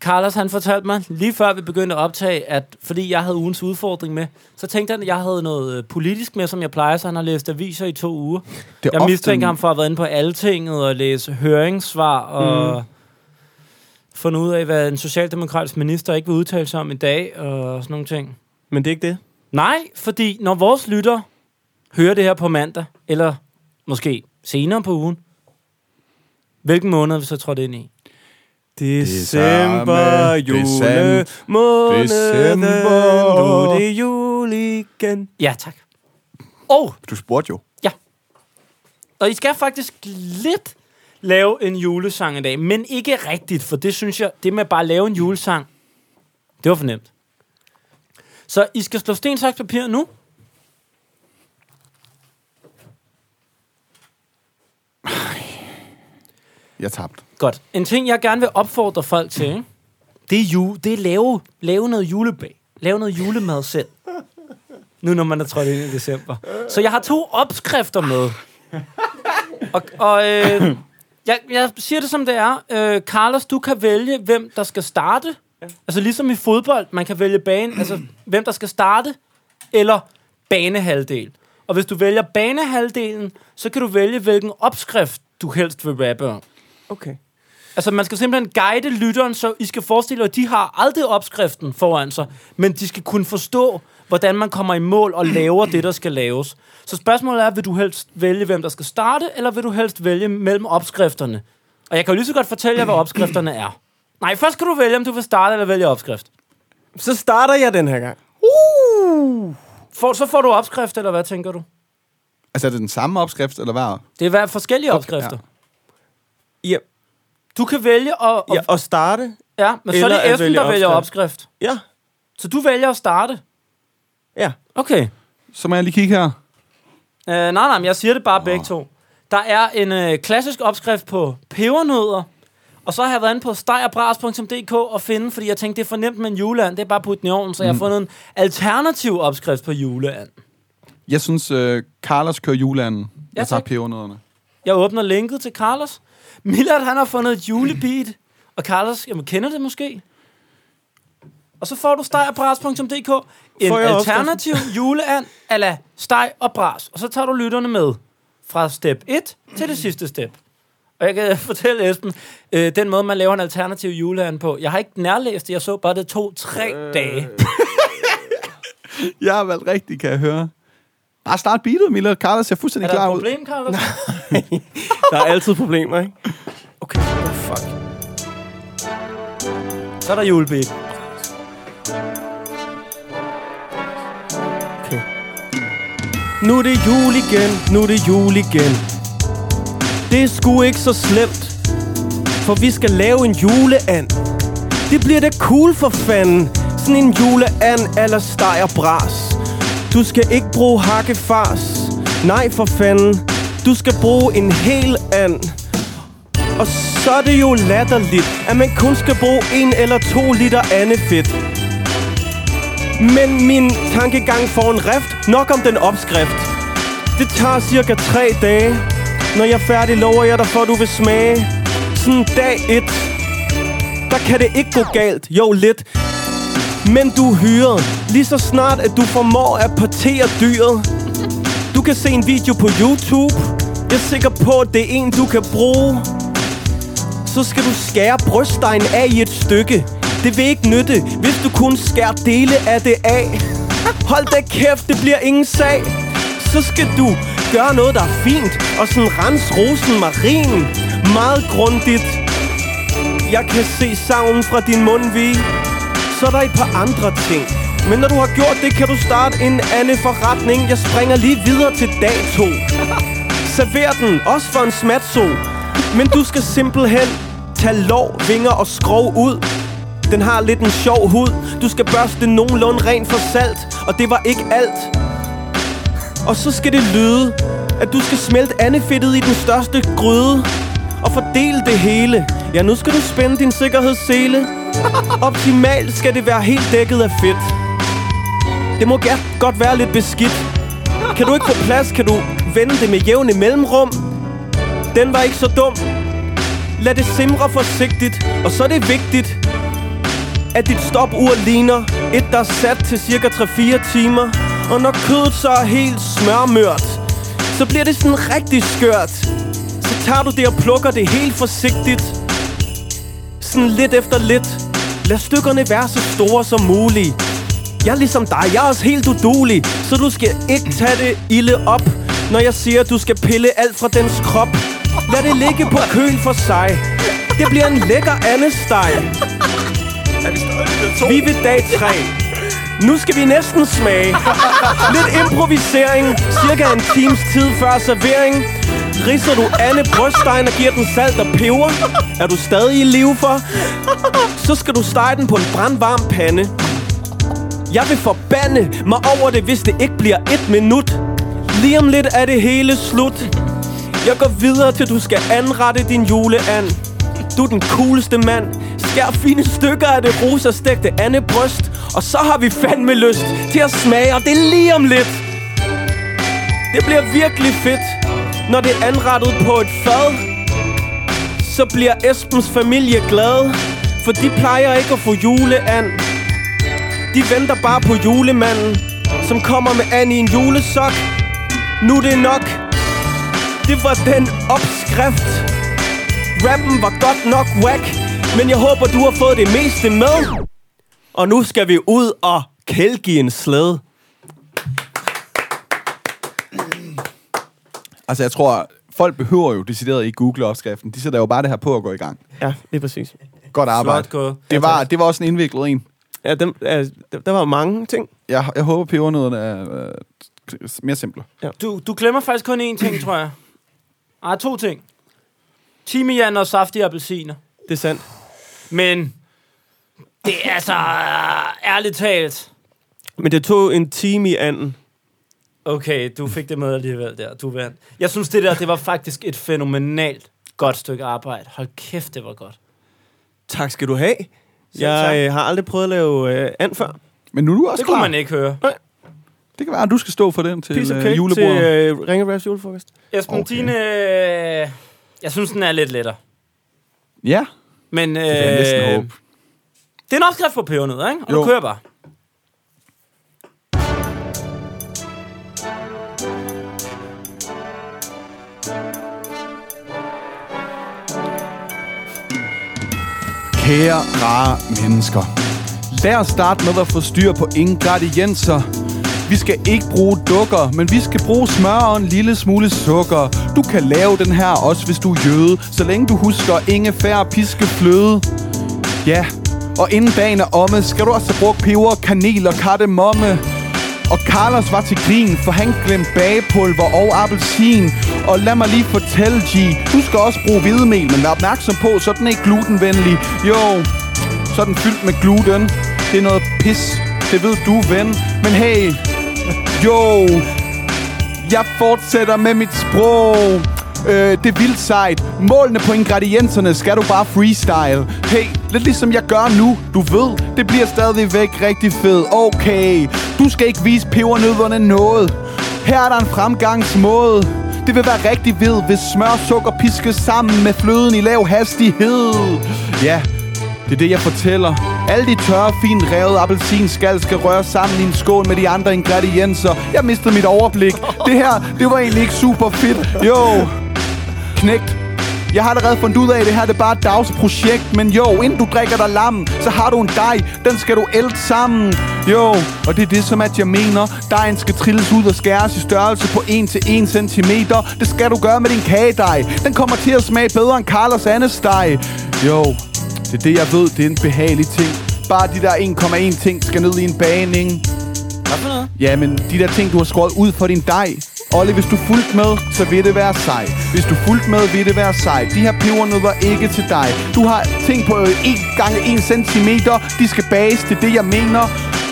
Speaker 2: Carlos, han fortalte mig lige før vi begyndte at optage, at fordi jeg havde ugens udfordring med, så tænkte han, at jeg havde noget øh, politisk med, som jeg plejer, så han har læst aviser i to uger.
Speaker 1: Det er
Speaker 2: Jeg
Speaker 1: ofte-
Speaker 2: mistænker ham for at have været inde på Altinget og læse høringssvar og mm. fundet ud af, hvad en socialdemokratisk minister ikke vil udtale sig om i dag og sådan nogle ting.
Speaker 4: Men det er ikke det.
Speaker 2: Nej, fordi når vores lytter hører det her på mandag, eller måske senere på ugen, hvilken måned er vi så trådt ind i?
Speaker 4: December, jule,
Speaker 1: december,
Speaker 4: måneden,
Speaker 1: december.
Speaker 4: nu er det jul igen.
Speaker 2: Ja, tak. Og
Speaker 1: Du spurgte jo.
Speaker 2: Og I skal faktisk lidt lave en julesang i dag, men ikke rigtigt, for det synes jeg, det med bare at lave en julesang, det var for nemt. Så I skal slå sten, saks, papir nu.
Speaker 1: Jeg tabte.
Speaker 2: Godt. En ting, jeg gerne vil opfordre folk til, ikke? det er, ju- det er lave, lave noget julebag. Lave noget julemad selv. Nu, når man er trådt ind i december. Så jeg har to opskrifter med. Og, og øh, jeg, jeg siger det, som det er. Øh, Carlos, du kan vælge, hvem der skal starte. Altså ligesom i fodbold, man kan vælge bane, altså hvem der skal starte, eller banehalvdel. Og hvis du vælger banehalvdelen, så kan du vælge, hvilken opskrift du helst vil rappe om.
Speaker 4: Okay.
Speaker 2: Altså, man skal simpelthen guide lytteren, så I skal forestille jer, at de har aldrig opskriften foran sig, men de skal kunne forstå, hvordan man kommer i mål og laver det, der skal laves. Så spørgsmålet er, vil du helst vælge, hvem der skal starte, eller vil du helst vælge mellem opskrifterne? Og jeg kan jo lige så godt fortælle jer, hvad opskrifterne er. Nej, først skal du vælge, om du vil starte eller vælge opskrift.
Speaker 4: Så starter jeg den her gang.
Speaker 2: For, så får du opskrift, eller hvad tænker du?
Speaker 1: Altså, er det den samme opskrift, eller hvad?
Speaker 2: Det er hver forskellige opskrifter.
Speaker 4: Ja,
Speaker 2: Du kan vælge at...
Speaker 4: ja og starte.
Speaker 2: ja men så er
Speaker 4: Eller at
Speaker 2: det Esben,
Speaker 4: vælge
Speaker 2: der vælger
Speaker 4: opskrift.
Speaker 2: opskrift.
Speaker 4: Ja,
Speaker 2: Så du vælger at starte.
Speaker 4: ja.
Speaker 2: Okay.
Speaker 1: Så må jeg lige kigge her.
Speaker 2: Øh, nej, nej, men jeg siger det bare oh. begge to. Der er en øh, klassisk opskrift på pebernødder, og så har jeg været inde på stegerbras.dk og finde, fordi jeg tænkte, det er for nemt med en juleand, det er bare at putte den i ovnen, så jeg har fundet en alternativ opskrift på juleand.
Speaker 1: Jeg synes, øh, Carlos kører juleanden. Jeg
Speaker 2: Ja,
Speaker 1: tager
Speaker 2: tak.
Speaker 1: pebernødderne.
Speaker 2: Jeg åbner linket til Carlos. Millard, han har fundet et julebeat, og Carlos, jamen, kender det måske? Og så får du stegerbras.dk, en
Speaker 4: Får jeg opskriften?
Speaker 2: alternativ juleand, ala steg og bras. Og så tager du lytterne med fra step 1 til det sidste step. Og jeg kan fortælle Esben, øh, den måde, man laver en alternativ juleand på. Jeg har ikke nærlæst det, jeg så bare det to-tre øh. dage.
Speaker 1: Jeg har valgt rigtigt, kan jeg høre. Bare start beatet, Miller. Carlos ser
Speaker 2: Er
Speaker 1: fuldstændig
Speaker 2: der
Speaker 1: klar
Speaker 2: et
Speaker 1: ud.
Speaker 2: problem, Carlos?
Speaker 4: Der er altid problemer, ikke?
Speaker 2: Okay, oh, fuck. Så er der julebeat.
Speaker 4: Nu er det jul igen, nu er det jul igen. Det er sgu ikke så slemt, for vi skal lave en juleand. Det bliver da cool for fanden, sådan en juleand eller steg og bras. Du skal ikke bruge hakkefars, nej for fanden. Du skal bruge en hel and. Og så er det jo latterligt, at man kun skal bruge en eller to liter andefedt. Men min tankegang får en rift. Nok om den opskrift. Det tager cirka tre dage. Når jeg er færdig, lover jeg dig for, du vil smage. Sådan dag et. Der kan det ikke gå galt. Jo, lidt. Men du er hyret. Lige så snart, at du formår at partere dyret. Du kan se en video på YouTube. Jeg er sikker på, at det er en, du kan bruge. Så skal du skære brystdejen af i et stykke. Det vil ikke nytte, hvis du kun skærer dele af det af. Hold da kæft, det bliver ingen sag. Så skal du gøre noget, der er fint, og sådan rense rosen marin. Meget grundigt. Jeg kan se savnen fra din mundvig. Så er der et par andre ting. Men når du har gjort det, kan du starte en anden forretning. Jeg springer lige videre til dag 2. Server den, også for en smatso. Men du skal simpelthen tage lår, vinger og skrov ud. Den har lidt en sjov hud. Du skal børste nogenlunde rent for salt. Og det var ikke alt. Og så skal det lyde, at du skal smelte andefedtet i den største gryde og fordele det hele. Ja, nu skal du spænde din sikkerhedssele. Optimalt skal det være helt dækket af fedt. Det må gerne godt være lidt beskidt. Kan du ikke få plads, kan du vende det med jævne mellemrum. Den var ikke så dum. Lad det simre forsigtigt, og så er det vigtigt, at dit stopur ligner et, der er sat til cirka 3-4 timer. Og når kødet så er helt smørmørt, så bliver det sådan rigtig skørt. Så tager du det og plukker det helt forsigtigt. Sådan lidt efter lidt. Lad stykkerne være så store som muligt. Jeg er ligesom dig, jeg er også helt udulig, så du skal ikke tage det ilde op, når jeg siger, at du skal pille alt fra dens krop. Lad det ligge på køl for sig. Det bliver en lækker andesteg. Vi er ved dag 3. Nu skal vi næsten smage. Lidt improvisering, cirka en times tid før servering. Ridser du alle brystdejen og giver den salt og peber? Er du stadig i live for? Så skal du stege den på en brandvarm pande. Jeg vil forbande mig over det, hvis det ikke bliver et minut. Lige om lidt er det hele slut. Jeg går videre, til du skal anrette din juleand. Du er den cooleste mand. Skær fine stykker af det rosa stegte andebryst. Og så har vi fandme lyst til at smage, og det er lige om lidt. Det bliver virkelig fedt, når det er anrettet på et fad. Så bliver Esbens familie glad, for de plejer ikke at få juleand. De venter bare på julemanden, som kommer med an i en julesok. Nu er det nok. Det var den opskrift. Rappen var godt nok whack, men jeg håber, du har fået det meste med. Og nu skal vi ud og kælke i en slæde.
Speaker 1: Altså, jeg tror, folk behøver jo decideret ikke google opskriften. De sætter jo bare det her på og går i gang.
Speaker 4: Ja, lige præcis.
Speaker 1: Godt arbejde.
Speaker 2: gået.
Speaker 1: Det var, det var også en indviklet en.
Speaker 4: Ja, dem, øh, der- der var mange ting.
Speaker 1: Jeg, jeg håber, pebernødderne er øh, mere simple.
Speaker 2: Du, du glemmer faktisk kun én ting, tror jeg. Ah, to ting. Timian og saftige appelsiner.
Speaker 4: Det er sandt.
Speaker 2: Men det er altså ærligt talt.
Speaker 4: Men det tog en time i anden.
Speaker 2: Okay, du fik det med alligevel der. Du vandt. Jeg synes, det der det var faktisk et fænomenalt godt stykke arbejde. Hold kæft, det var godt.
Speaker 4: Tak skal du have.
Speaker 2: tak.
Speaker 4: Jeg øh, har aldrig prøvet at lave øh, and før.
Speaker 1: Men nu er du også
Speaker 2: Det
Speaker 1: klar.
Speaker 2: kunne man ikke høre.
Speaker 1: Det kan være, at du skal stå for den til
Speaker 4: Piece of
Speaker 1: øh,
Speaker 4: cake til
Speaker 1: julebordet.
Speaker 4: øh, Ringe Raps julefrokost.
Speaker 2: Esben,
Speaker 1: Okay.
Speaker 2: okay. dine... øh, Jeg synes, den er lidt lettere.
Speaker 1: Ja,
Speaker 2: Men, øh,
Speaker 1: det kan jeg næsten håbe.
Speaker 2: det er en opskrift på pebernødder, ikke? Og
Speaker 1: Jo.
Speaker 2: du kører bare.
Speaker 1: Kære, rare mennesker. Lad os starte med at få styr på ingredienser. Vi skal ikke bruge dukker, men vi skal bruge smør og en lille smule sukker. Du kan lave den her også, hvis du er jøde, så længe du husker ingefær, piske, fløde. Ja, og inden dagen er omme, skal du også bruge peber, kanel og kardemomme. Og Carlos var til grin, for han glemte bagepulver og appelsin. Og lad mig lige fortælle, G, du skal også bruge hvidemel, men vær opmærksom på, så den er ikke glutenvenlig. Jo, så er den fyldt med gluten. Det er noget pis, det ved du, ven. Men hey, jo, jeg fortsætter med mit sprog. Øh, det er vildt sejt. Målene på ingredienserne skal du bare freestyle. Hey, Lidt ligesom jeg gør nu, du ved Det bliver stadigvæk rigtig fed Okay, du skal ikke vise pebernødderne noget Her er der en fremgangsmåde Det vil være rigtig ved, hvis smør og sukker piskes sammen med fløden i lav hastighed Ja, det er det, jeg fortæller. Alle de tørre, fint revede appelsinskal skal røre sammen i en skål med de andre ingredienser. Jeg mistede mit overblik. Det her, det var egentlig ikke super fedt. Jo, knægt. Jeg har allerede fundet ud af, at det her det er bare et dagsprojekt. Men jo, inden du drikker dig lam, så har du en dej. Den skal du ælte sammen. Jo, og det er det, som at jeg mener. Dejen skal trilles ud og skæres i størrelse på 1 til 1 cm. Det skal du gøre med din kagedej. Den kommer til at smage bedre end Carlos Annes dej. Jo, det er det, jeg ved. Det er en behagelig ting. Bare de der 1,1 ting skal ned i en baning.
Speaker 2: Hvad for noget?
Speaker 1: Ja, men de der ting, du har skåret ud for din dej. Olle, hvis du fulgte med, så vil det være sej. Hvis du fulgte med, vil det være sej. De her pebernødder ikke til dig. Du har ting på 1 gange 1 cm. De skal bages, det er det, jeg mener.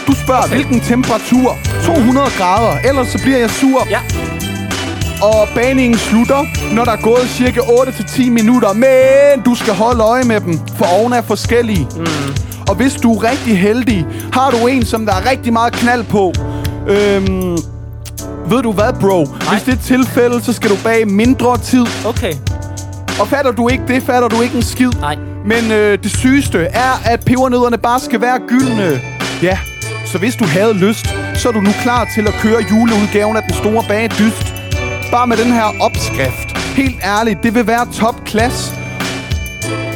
Speaker 1: Du spørger, hvilken temperatur? 200 grader, ellers så bliver jeg sur.
Speaker 2: Ja.
Speaker 1: Og baningen slutter, når der er gået cirka 8-10 minutter. Men du skal holde øje med dem, for ovne er forskellige. Mm. Og hvis du er rigtig heldig, har du en, som der er rigtig meget knald på. Øhm, ved du hvad, bro? Nej. Hvis det er tilfældet, så skal du bage mindre tid.
Speaker 2: Okay.
Speaker 1: Og fatter du ikke det, fatter du ikke en skid.
Speaker 2: Nej.
Speaker 1: Men øh, det sygeste er, at pebernødderne bare skal være gyldne. Ja, så hvis du havde lyst, så er du nu klar til at køre juleudgaven af den store bagedyst. Bare med den her opskrift. Helt ærligt, det vil være topklasse.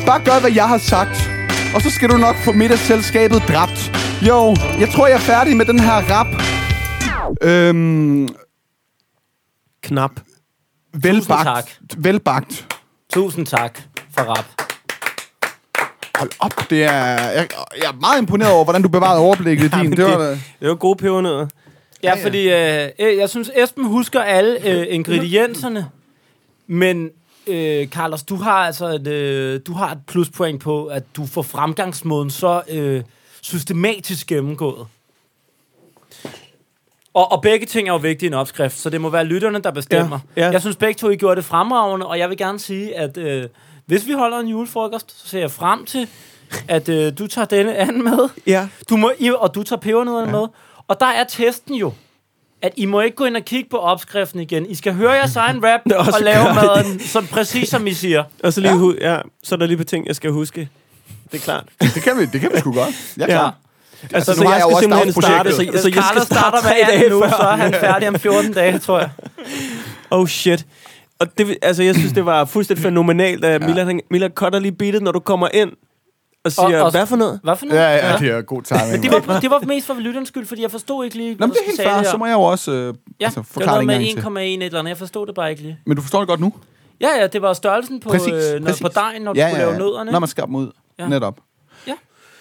Speaker 1: Bare gør, hvad jeg har sagt. Og så skal du nok få middagsselskabet dræbt. Jo, jeg tror, jeg er færdig med den her rap. Øhm,
Speaker 4: Knap.
Speaker 1: velbagt.
Speaker 2: tak.
Speaker 1: Velbagt.
Speaker 2: Tusind tak for rap.
Speaker 1: Hold op, det er... Jeg, jeg er meget imponeret over, hvordan du bevarede overblikket ja, din. Det var, da-
Speaker 4: det var gode pebernødder.
Speaker 2: Ja, fordi øh, øh, jeg synes, Esben husker alle øh, ingredienserne, men øh, Carlos, du har altså et, øh, du har et pluspoint på, at du får fremgangsmåden så øh, systematisk gennemgået. Og, og begge ting er jo vigtige i en opskrift, så det må være lytterne, der bestemmer.
Speaker 4: Ja, ja.
Speaker 2: Jeg synes begge to, I gjorde det fremragende, og jeg vil gerne sige, at øh, hvis vi holder en julefrokost, så ser jeg frem til, at øh, du tager denne anden med.
Speaker 4: Ja.
Speaker 2: Du må, I, og du tager pebernødderne ja. med. Og der er testen jo, at I må ikke gå ind og kigge på opskriften igen. I skal høre jeres egen rap
Speaker 4: Nå,
Speaker 2: og
Speaker 4: så gør
Speaker 2: lave
Speaker 4: I
Speaker 2: maden, som præcis som I siger.
Speaker 4: Og så, lige, ja. Hu- ja, så er der lige på ting, jeg skal huske. Det er klart.
Speaker 1: det, kan vi, det kan vi sgu godt. Ja,
Speaker 4: Ja.
Speaker 1: klar.
Speaker 4: Altså,
Speaker 1: nu har jeg jo også
Speaker 4: starte,
Speaker 1: dagsprojektet.
Speaker 4: så,
Speaker 2: Hvis
Speaker 4: så jeg skal
Speaker 2: Carlos starter
Speaker 4: starte
Speaker 2: med
Speaker 4: tre
Speaker 2: 18
Speaker 4: dage
Speaker 2: nu,
Speaker 4: før.
Speaker 2: så er han færdig om 14 dage, tror jeg.
Speaker 4: Oh shit. Og det, vil- altså, jeg synes, det var fuldstændig fænomenalt, at ja. Milad, han, Milad cutter lige beatet, når du kommer ind og siger, og,
Speaker 2: og-
Speaker 4: og, hvad for noget?
Speaker 2: Hvad for noget?
Speaker 1: Ja, ja, det er god timing.
Speaker 2: Men det var, det var mest for lytterens skyld, fordi jeg forstod ikke lige,
Speaker 1: Nå,
Speaker 2: hvad
Speaker 1: men det
Speaker 2: du
Speaker 1: er helt
Speaker 2: sagde
Speaker 1: fair.
Speaker 2: der.
Speaker 1: Så må jeg jo også øh,
Speaker 2: Ja,
Speaker 1: altså,
Speaker 2: det var
Speaker 1: forklare det en gang til.
Speaker 2: noget med 1,1 et eller andet. Jeg forstod det bare ikke lige.
Speaker 1: Men du forstår det godt nu?
Speaker 2: Ja, ja, det var størrelsen på,
Speaker 1: Præcis.
Speaker 2: øh, når,
Speaker 1: præcis.
Speaker 2: på dejen, når du ja, skulle lave nødderne.
Speaker 1: Når man skar dem ud.
Speaker 2: Ja.
Speaker 1: Ja. Netop.
Speaker 2: Ja.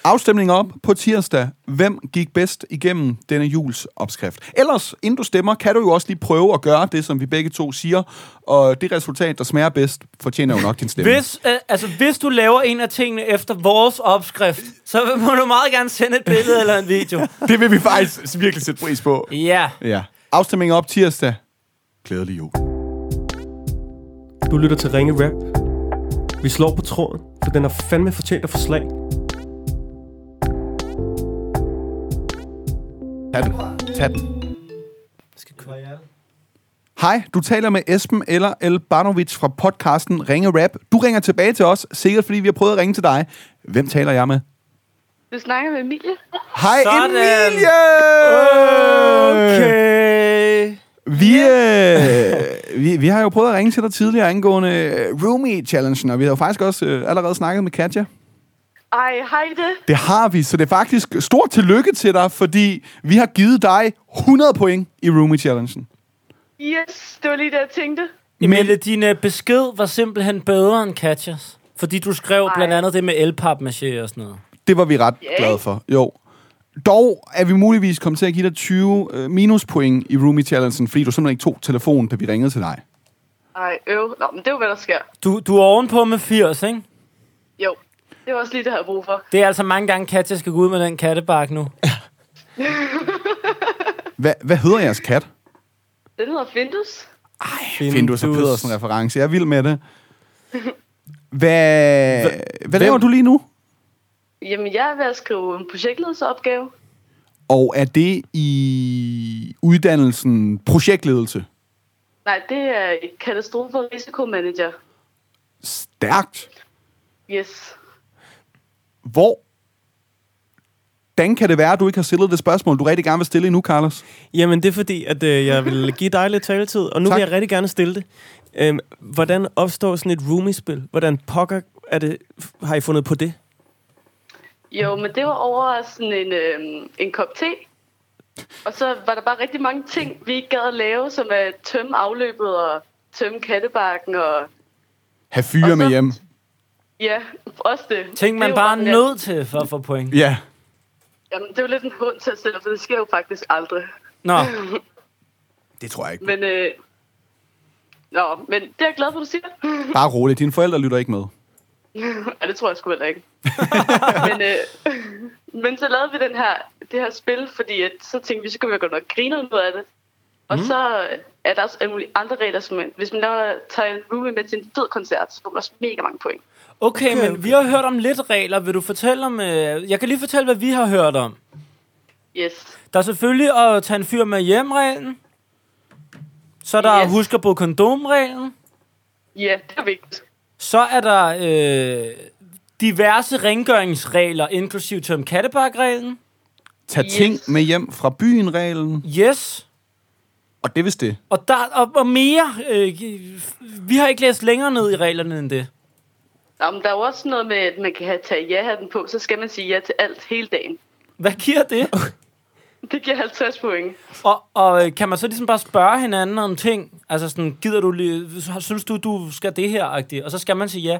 Speaker 1: Afstemning op på tirsdag. Hvem gik bedst igennem denne jules opskrift? Ellers, inden du stemmer, kan du jo også lige prøve at gøre det, som vi begge to siger. Og det resultat, der smager bedst, fortjener jo nok din stemme.
Speaker 2: Hvis, øh, altså, hvis du laver en af tingene efter vores opskrift, så må du meget gerne sende et billede eller en video.
Speaker 1: Det vil vi faktisk virkelig sætte pris på.
Speaker 2: Ja.
Speaker 1: Ja. Afstemning op tirsdag. Glædelig jul.
Speaker 4: Du lytter til Ringe Rap. Vi slår på tråden, for den har fandme fortjent at få slag.
Speaker 1: Tag den. Tag den. Hej, du taler med Esben eller El Barnovic fra podcasten Ringe Rap. Du ringer tilbage til os, sikkert fordi vi har prøvet at ringe til dig. Hvem taler jeg med?
Speaker 11: Du snakker med Emilie.
Speaker 1: Hej
Speaker 2: Sådan.
Speaker 1: Emilie!
Speaker 4: Okay.
Speaker 1: Vi, øh, vi, vi har jo prøvet at ringe til dig tidligere angående øh, roomie-challengen, og vi har jo faktisk også øh, allerede snakket med Katja.
Speaker 11: Ej, hej det.
Speaker 1: Det har vi, så det er faktisk stort tillykke til dig, fordi vi har givet dig 100 point i roomie-challengen.
Speaker 11: Yes, det var lige det, jeg tænkte.
Speaker 2: Mille, din øh, besked var simpelthen bedre end Katjas. Fordi du skrev Ej. blandt andet det med elpap og sådan noget.
Speaker 1: Det var vi ret
Speaker 11: Ja,
Speaker 1: glade
Speaker 11: ikke?
Speaker 1: for, jo. Dog er vi muligvis kommet til at give dig 20 øh, minuspoint i roomie-challengen, fordi du simpelthen ikke tog telefonen, da vi ringede til dig.
Speaker 11: Ej, øv. Nå, men det er jo, hvad der sker.
Speaker 2: Du, du er ovenpå med 80, ikke?
Speaker 11: Jo, det var også lige det, jeg havde brug for.
Speaker 2: Det er altså mange gange, Katja skal gå ud med den kattebak nu.
Speaker 1: Hva, hvad hedder jeres kat?
Speaker 11: Den hedder Findus.
Speaker 1: Findus og Pedersen reference. Jeg er vild med det. Hvad, hvad laver du lige nu?
Speaker 11: Jamen, jeg er ved at skrive en projektledelsesopgave.
Speaker 1: Og er det i uddannelsen projektledelse?
Speaker 11: Nej, det er katastrofe og risikomanager.
Speaker 1: Stærkt.
Speaker 11: Yes.
Speaker 1: Hvor? Hvordan kan det være, at du ikke har stillet det spørgsmål, du rigtig gerne vil stille endnu, Carlos?
Speaker 4: Jamen, det er fordi, at øh, jeg vil give dig lidt taletid, og nu tak.
Speaker 1: Tak.
Speaker 4: vil jeg rigtig gerne stille det. Øhm, hvordan opstår sådan et roomie-spil? Hvordan pokker er det, f- har I fundet på det?
Speaker 11: Jo, men det var over sådan en, øh, en kop te. Og så var der bare rigtig mange ting, vi ikke gad at lave, som at tømme afløbet og tømme kattebakken og...
Speaker 1: Have fyre med hjem.
Speaker 11: Ja, også det.
Speaker 2: Ting, man
Speaker 11: det
Speaker 2: bare er
Speaker 11: er jo-
Speaker 2: nødt til for at få point.
Speaker 1: Ja.
Speaker 11: Jamen, det er jo lidt en hund til at stille, for det sker jo faktisk aldrig.
Speaker 2: Nå.
Speaker 1: Det tror jeg ikke.
Speaker 11: men, øh, nå, men det er jeg glad for, du siger.
Speaker 1: Bare roligt, dine forældre lytter ikke med.
Speaker 11: ja, det tror jeg sgu heller ikke. men, øh, men så lavede vi den her, det her spil, fordi at, så tænkte vi, så kunne vi godt nok grine ud af det. Og
Speaker 12: Mhm.
Speaker 11: så er der også alle mulige andre regler, som man- hvis man laver, tager en roomie med til en fed koncert, så får man også mega mange point.
Speaker 2: Okay, okay, men vi har hørt om lidt regler. Vil du fortælle om... Øh, jeg kan lige fortælle, hvad vi har hørt om.
Speaker 11: Yes.
Speaker 2: Der er selvfølgelig at tage en fyr med hjem-reglen. Så er der yes. husk at bruge kondom-reglen.
Speaker 11: Ja, det er vigtigt.
Speaker 2: Så er der øh, diverse rengøringsregler, inklusiv Tom Kattebark-reglen.
Speaker 1: Tag yes. ting med hjem fra byen-reglen.
Speaker 2: Yes.
Speaker 1: Og det hvis det.
Speaker 2: Og, der, og, og mere. Øh, vi har ikke læst længere ned i reglerne end det.
Speaker 11: Nå, men der er jo også noget med, at man kan have tage ja-hatten på, så skal man sige ja til alt hele dagen.
Speaker 2: Hvad giver det?
Speaker 11: Det giver 50 point.
Speaker 2: Og, og øh, kan man så ligesom bare spørge hinanden om ting? Altså sådan, gider du lige, synes du, du skal det her? -agtigt? Og så skal man sige ja.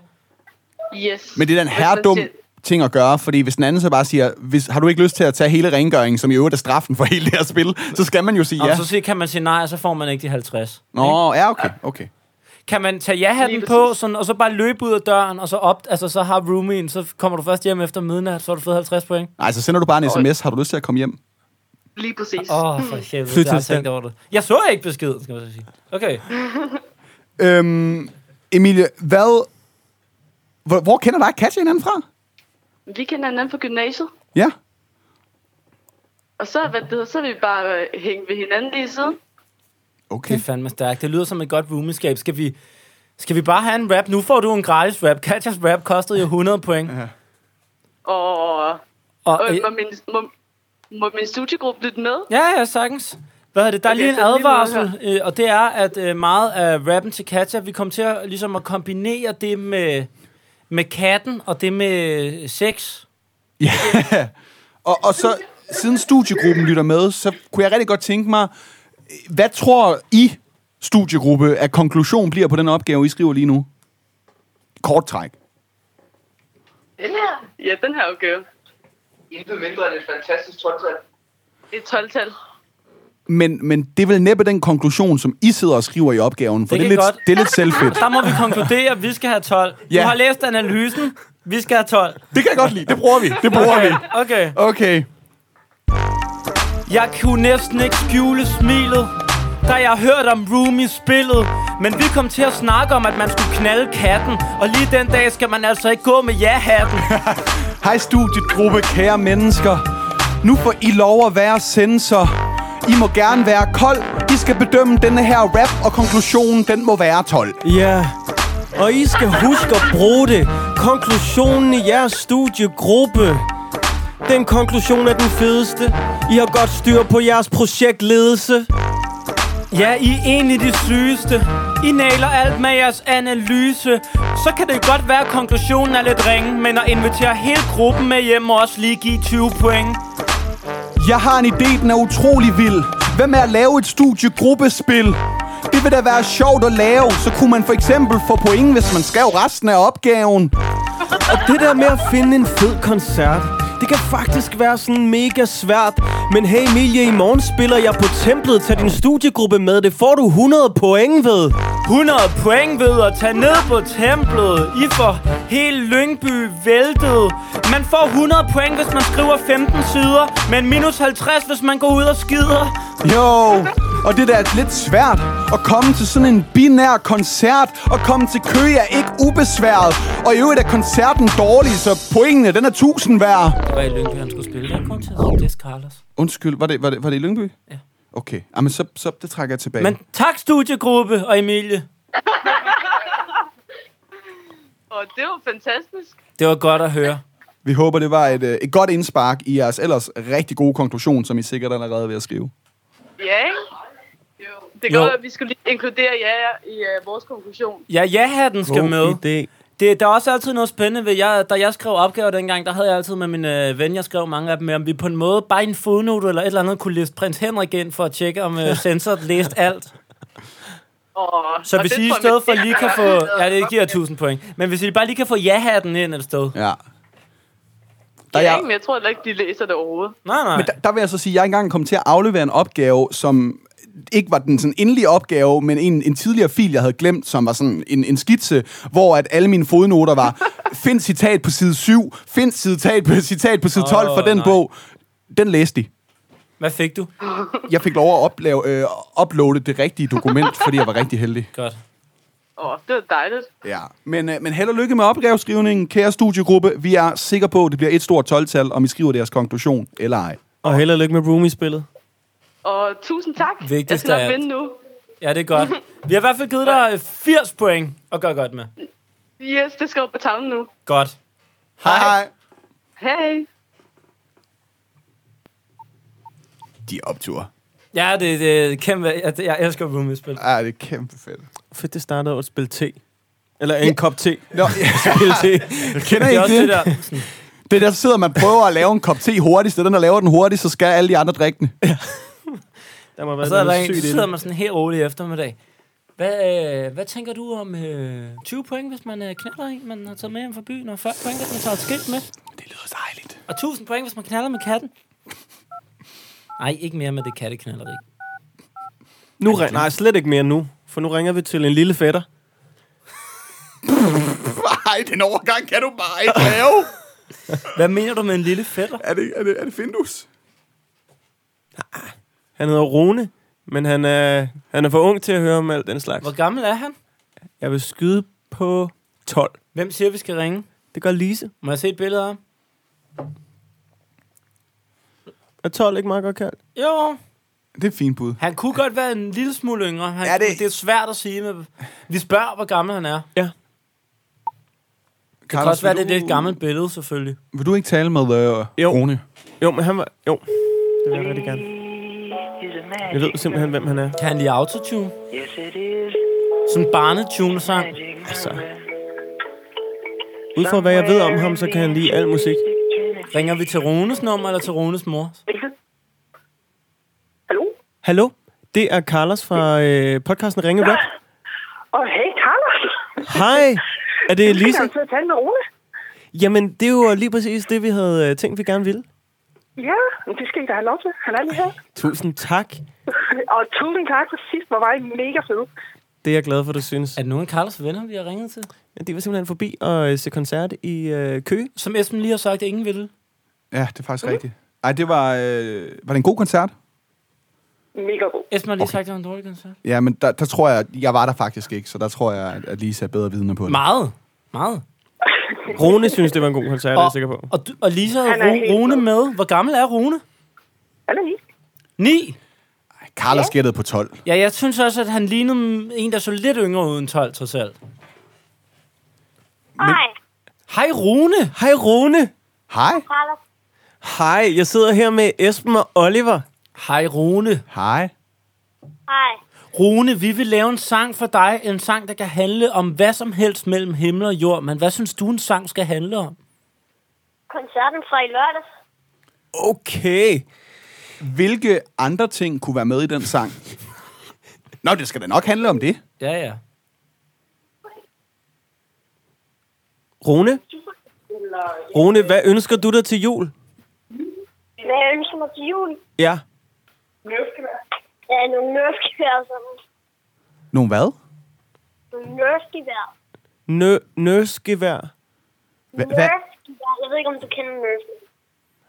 Speaker 11: Yes.
Speaker 1: Men det er den her dum ting at gøre, fordi hvis den anden så bare siger, hvis, har du ikke lyst til at tage hele rengøringen, som i øvrigt er straffen for hele det her spil, så skal man jo sige
Speaker 2: Og
Speaker 1: ja.
Speaker 2: så sig- kan man sige nej, og så får man ikke de 50.
Speaker 1: Nå, ja, okay, okay.
Speaker 2: Kan man tage ja-hatten på, sådan, og så bare løbe ud af døren, og så op, altså så har roomien, så kommer du først hjem efter midnat, så har du fået 50 point.
Speaker 1: Nej, så sender du bare en sms, har du lyst til at komme hjem?
Speaker 11: Lige præcis.
Speaker 2: Åh, oh, for helvede,
Speaker 1: Flyt
Speaker 2: jeg har
Speaker 1: til
Speaker 2: tænkt over det. Jeg så ikke beskeden, skal man så sige. Okay.
Speaker 1: Øhm, Emilie, hvad... Hvor, hvor kender dig og Katja hinanden fra?
Speaker 11: Vi kender hinanden fra gymnasiet,
Speaker 1: Ja.
Speaker 11: og så, hvad det hedder, så er vi bare øh, hængt ved hinanden lige siden.
Speaker 1: Okay.
Speaker 2: Det er fandme stærkt. Det lyder som et godt roomeskab. Skal vi, skal vi bare have en rap? Nu får du en gratis rap. Katjas rap kostede jo 100 point. Ja.
Speaker 11: Og,
Speaker 2: Og,
Speaker 11: og øh,
Speaker 2: øh,
Speaker 11: må, min, må, må min studiegruppe lytte med?
Speaker 2: Ja, ja, sagtens. Hvad er det? Der er
Speaker 11: Okay,
Speaker 2: lige en
Speaker 11: så lige
Speaker 2: advarsel,
Speaker 11: noget
Speaker 2: øh, og det er, at øh, meget af rappen til Katja, vi kom til at, ligesom at kombinere det med, med katten og det med sex.
Speaker 1: Ja. og, og så, siden studiegruppen lytter med, så kunne jeg rigtig godt tænke mig, hvad tror I, studiegruppe, at konklusion bliver på den opgave, I skriver lige nu? Kort træk.
Speaker 11: Ja. ja, den her opgave.
Speaker 7: Intet mindre end et fantastisk 12
Speaker 11: Et 12-tal.
Speaker 1: Men, men det er vel næppe den konklusion, som I sidder og skriver i opgaven, for det, det, er, lidt, det er lidt selvfedt.
Speaker 2: Der må vi konkludere, at vi skal have 12. Ja.
Speaker 1: Ja.
Speaker 2: Du har læst analysen. Vi skal have 12.
Speaker 1: Det kan jeg godt lide. Det bruger vi. Det bruger
Speaker 2: okay.
Speaker 1: vi.
Speaker 2: Okay.
Speaker 1: Okay.
Speaker 2: Jeg kunne næsten ikke skjule smilet, da jeg hørte om roomie-spillet. Men vi kom til at snakke om, at man skulle knalde katten. Og lige den dag skal man altså ikke gå med ja-hatten.
Speaker 1: Hej studiegruppe, kære mennesker. Nu får I lov at være sensor. I må gerne være kold. I skal bedømme denne her rap, og konklusionen, den må være 12.
Speaker 4: Ja, og I skal huske at bruge det. Konklusionen i jeres studiegruppe. Den konklusion er den fedeste. I har godt styr på jeres projektledelse.
Speaker 2: Ja, I er egentlig de sygeste. I nailer alt med jeres analyse. Så kan det godt være, at konklusionen er lidt ringe, men at invitere hele gruppen med hjem må også lige give 20 point.
Speaker 1: Jeg har en idé, den er utrolig vild. Hvad med at lave et studiegruppespil? Det vil da være sjovt at lave, så kunne man for eksempel få point, hvis man skrev resten af opgaven.
Speaker 4: Og det der med at finde en fed koncert, det kan faktisk være sådan mega svært. Men hey Emilie, i morgen spiller jeg på templet. Tag din studiegruppe med, det får du 100 point ved.
Speaker 2: 100 point ved at tage ned på templet. I får hele Lyngby væltet. Man får 100 point, hvis man skriver 15 sider, men minus 50, hvis man går ud og skider.
Speaker 1: Jo, Og det der er lidt svært At komme til sådan en binær koncert Og komme til kø er ikke ubesværet Og i øvrigt er koncerten dårlig Så pointene, den er tusind værd
Speaker 2: Det var i Lyngby, han skulle spille. Jeg kom til at sige, det Carlos.
Speaker 1: Undskyld, var det, var det, var det i Lyngby? Ja. Okay, Jamen, så, så det trækker jeg tilbage.
Speaker 2: Men tak, studiegruppe og Emilie.
Speaker 11: Og det var fantastisk.
Speaker 1: Det var godt at høre. Vi håber, det var et, øh, et godt indspark i jeres ellers rigtig gode konklusion, som I sikkert allerede er ved at skrive.
Speaker 11: Ja, ikke? Det er
Speaker 1: Jo.
Speaker 11: godt, at vi skulle lige inkludere jer i uh, vores konklusion.
Speaker 2: Ja, ja-hatten skal
Speaker 4: God
Speaker 2: med. Idé. Det, der er også altid noget spændende ved, jeg, da jeg skrev opgaver dengang, der havde jeg altid med mine øh, venner, jeg skrev mange af dem med, om vi på en måde, bare i en fodnote eller et eller andet, kunne liste prins Henrik ind for at tjekke, om øh, sensor læste alt.
Speaker 11: Og,
Speaker 2: Så
Speaker 11: og
Speaker 2: hvis
Speaker 11: det
Speaker 2: I i
Speaker 11: tror jeg,
Speaker 2: stedet
Speaker 11: vi-
Speaker 2: for lige kan få... Ja, det giver 1000 point. Men hvis I bare lige kan få ja-hatten ind et sted.
Speaker 1: Ja.
Speaker 11: Ja,
Speaker 1: Der,
Speaker 11: jeg...
Speaker 1: jeg,
Speaker 11: Ikke, men jeg tror heller ikke, de læser det overhovedet.
Speaker 2: Nej, nej.
Speaker 1: men der, der vil jeg så sige, at jeg engang kom til at aflevere en opgave, som ikke var den sådan endelige opgave, men en, en tidligere fil, jeg havde glemt, som var sådan en, en skitse, hvor at alle mine fodnoter var, find citat på side 7, find citat på, citat på side 12 oh, for
Speaker 2: Åh,
Speaker 1: den
Speaker 2: nej.
Speaker 1: nej. bog. Den læste de.
Speaker 2: Hvad fik du?
Speaker 1: Jeg fik lov at oplave, øh, uploade det rigtige dokument, fordi jeg var rigtig heldig.
Speaker 2: Godt.
Speaker 11: Åh, det var dejligt.
Speaker 1: Ja, men, øh, men held og lykke med opgaveskrivningen, kære studiegruppe. Vi er sikre på, at det bliver et stort 12-tal, om I skriver deres konklusion eller ej.
Speaker 4: Og held og lykke med roomie-spillet.
Speaker 11: Og tusind tak.
Speaker 2: Vigtigst
Speaker 11: jeg skal
Speaker 2: af
Speaker 11: nok
Speaker 2: alt.
Speaker 11: vinde nu.
Speaker 2: Ja, det er godt. Vi har i hvert fald givet dig øh, 80 point at gøre godt med.
Speaker 11: Yes, det skal op på tavlen nu.
Speaker 2: Godt.
Speaker 1: Hej. Hej.
Speaker 11: Hej.
Speaker 1: De optur.
Speaker 2: Ja, det, det er kæmpe... Jeg, jeg elsker roomie-spil.
Speaker 1: Ja, det er kæmpe fedt.
Speaker 4: Fedt, det startede over at spille te. Eller en ja. kop te.
Speaker 1: Nå,
Speaker 4: Spille te.
Speaker 1: Kender I ikke det? Det er der, så sidder man og prøver at lave en kop te hurtigst, og den, der laver den hurtigt, så skal alle de andre drikke den.
Speaker 4: Der må
Speaker 2: Og
Speaker 4: være
Speaker 2: så, er der
Speaker 4: noget
Speaker 2: en,
Speaker 4: sygt
Speaker 2: så
Speaker 4: i
Speaker 2: sidder
Speaker 4: det.
Speaker 2: man sådan helt rolig eftermiddag. Hvad, øh, hvad tænker du om øh, 20 point, hvis man øh, knaller en, man har taget med hjem fra byen, og 40 point, hvis man tager et skilt med?
Speaker 1: Det lyder dejligt.
Speaker 2: Og 1000 point, hvis man knaller med katten? Nej, ikke mere med det katteknalleri.
Speaker 4: Nu ring- Nej, slet ikke mere nu. For nu ringer vi til en lille fætter.
Speaker 1: Nej, den overgang kan du bare ikke lave.
Speaker 2: Hvad mener du med en lille fætter?
Speaker 1: Er det, er det, er det Findus?
Speaker 4: Han hedder Rune, men han er, han er for ung til at høre om alt den slags.
Speaker 2: Hvor gammel er han?
Speaker 4: Jeg vil skyde på 12.
Speaker 2: Hvem siger, vi skal ringe?
Speaker 4: Det gør Lise.
Speaker 2: Må jeg se et billede af ham?
Speaker 4: Er 12 ikke meget godt kaldt?
Speaker 2: Jo,
Speaker 1: Det er et fint bud.
Speaker 2: han kunne godt være en lille smule yngre. Han,
Speaker 1: Ja, det-
Speaker 2: det er svært at sige. Med, vi spørger, hvor gammel han er.
Speaker 1: Det
Speaker 2: Det kan også være, det er et gammelt billede, selvfølgelig.
Speaker 1: Vil du ikke tale med øh,
Speaker 4: Jo.
Speaker 1: Rune?
Speaker 4: Jo, men han var... Jo, det vil jeg rigtig gerne. Jeg ved simpelthen, hvem han er.
Speaker 2: Kan han lide autotune?
Speaker 9: Yes, it is.
Speaker 2: Sådan en barnetune-sang?
Speaker 4: Altså. Ud fra hvad jeg ved om ham, så kan han lide al musik.
Speaker 2: Ringer vi til Runes nummer eller til Runes mor?
Speaker 4: Hallo, det er Carlos fra øh, podcasten Ringe Rap.
Speaker 9: Og oh, hey, Carlos.
Speaker 4: Hej, er det
Speaker 9: Lise.
Speaker 4: Lise?
Speaker 9: Jeg sidde og tale med Rune.
Speaker 4: Jamen, det er jo lige præcis det, vi havde øh, tænkt, vi gerne ville.
Speaker 9: Ja, men det skal I da have lov til. Han er lige her.
Speaker 4: Tusind tak.
Speaker 9: og tusind tak for sidst. Hvor var I mega fede.
Speaker 4: Det er jeg glad for, du synes.
Speaker 2: Er det nogen af Carlos venner, vi har ringet til?
Speaker 4: Ja, de var simpelthen forbi og øh, se koncert i øh, Køge.
Speaker 2: Som Esben lige har sagt, at ingen ville.
Speaker 1: Ja, det er faktisk rigtigt. Ej, det var... Øh, var det en god koncert?
Speaker 9: Mega god.
Speaker 2: Esben har lige sagt, at det var en dårlig koncert.
Speaker 1: Ja, men der, der tror jeg... Jeg var der faktisk ikke, så der tror jeg, at- at Lisa er bedre vidne på det.
Speaker 2: Meget. Meget.
Speaker 4: Rune synes, det var en god koncert, det er jeg sikker på.
Speaker 2: Og, du, og Lisa havde
Speaker 9: Han er helt
Speaker 2: Ru- Rune med. Hvor gammel er Rune?
Speaker 9: Han er lige.
Speaker 2: 9.
Speaker 1: Carlos gættede på 12.
Speaker 2: Ja, jeg synes også, at han lignede en, der så lidt yngre ud end 12, trods alt.
Speaker 12: Hej,
Speaker 2: Hej Rune!
Speaker 4: Hej Rune!
Speaker 1: Hej.
Speaker 12: Carlos.
Speaker 4: Hej, jeg sidder her med Esben og Oliver.
Speaker 2: Hej Rune.
Speaker 1: Hej.
Speaker 12: Hej.
Speaker 2: Rune, vi vil lave en sang for dig. En sang, der kan handle om hvad som helst mellem himmel og jord. Men hvad synes du, en sang skal handle om?
Speaker 12: Koncerten fra i lørdags.
Speaker 4: Okay.
Speaker 1: Hvilke andre ting kunne være med i den sang? Nå, det skal da nok handle om det.
Speaker 2: Ja, ja.
Speaker 4: Rune? Rune, hvad ønsker du dig til jul?
Speaker 12: Hvad jeg ønsker mig til jul?
Speaker 4: Ja.
Speaker 12: Ja, nogle nørdskivær og sådan.
Speaker 1: Nogle hvad?
Speaker 12: Nogle nørdskivær.
Speaker 4: Nø, nøsgevær.
Speaker 1: Hva, hva?
Speaker 12: Nørdskivær. Jeg ved ikke, om du kender nørdskivær.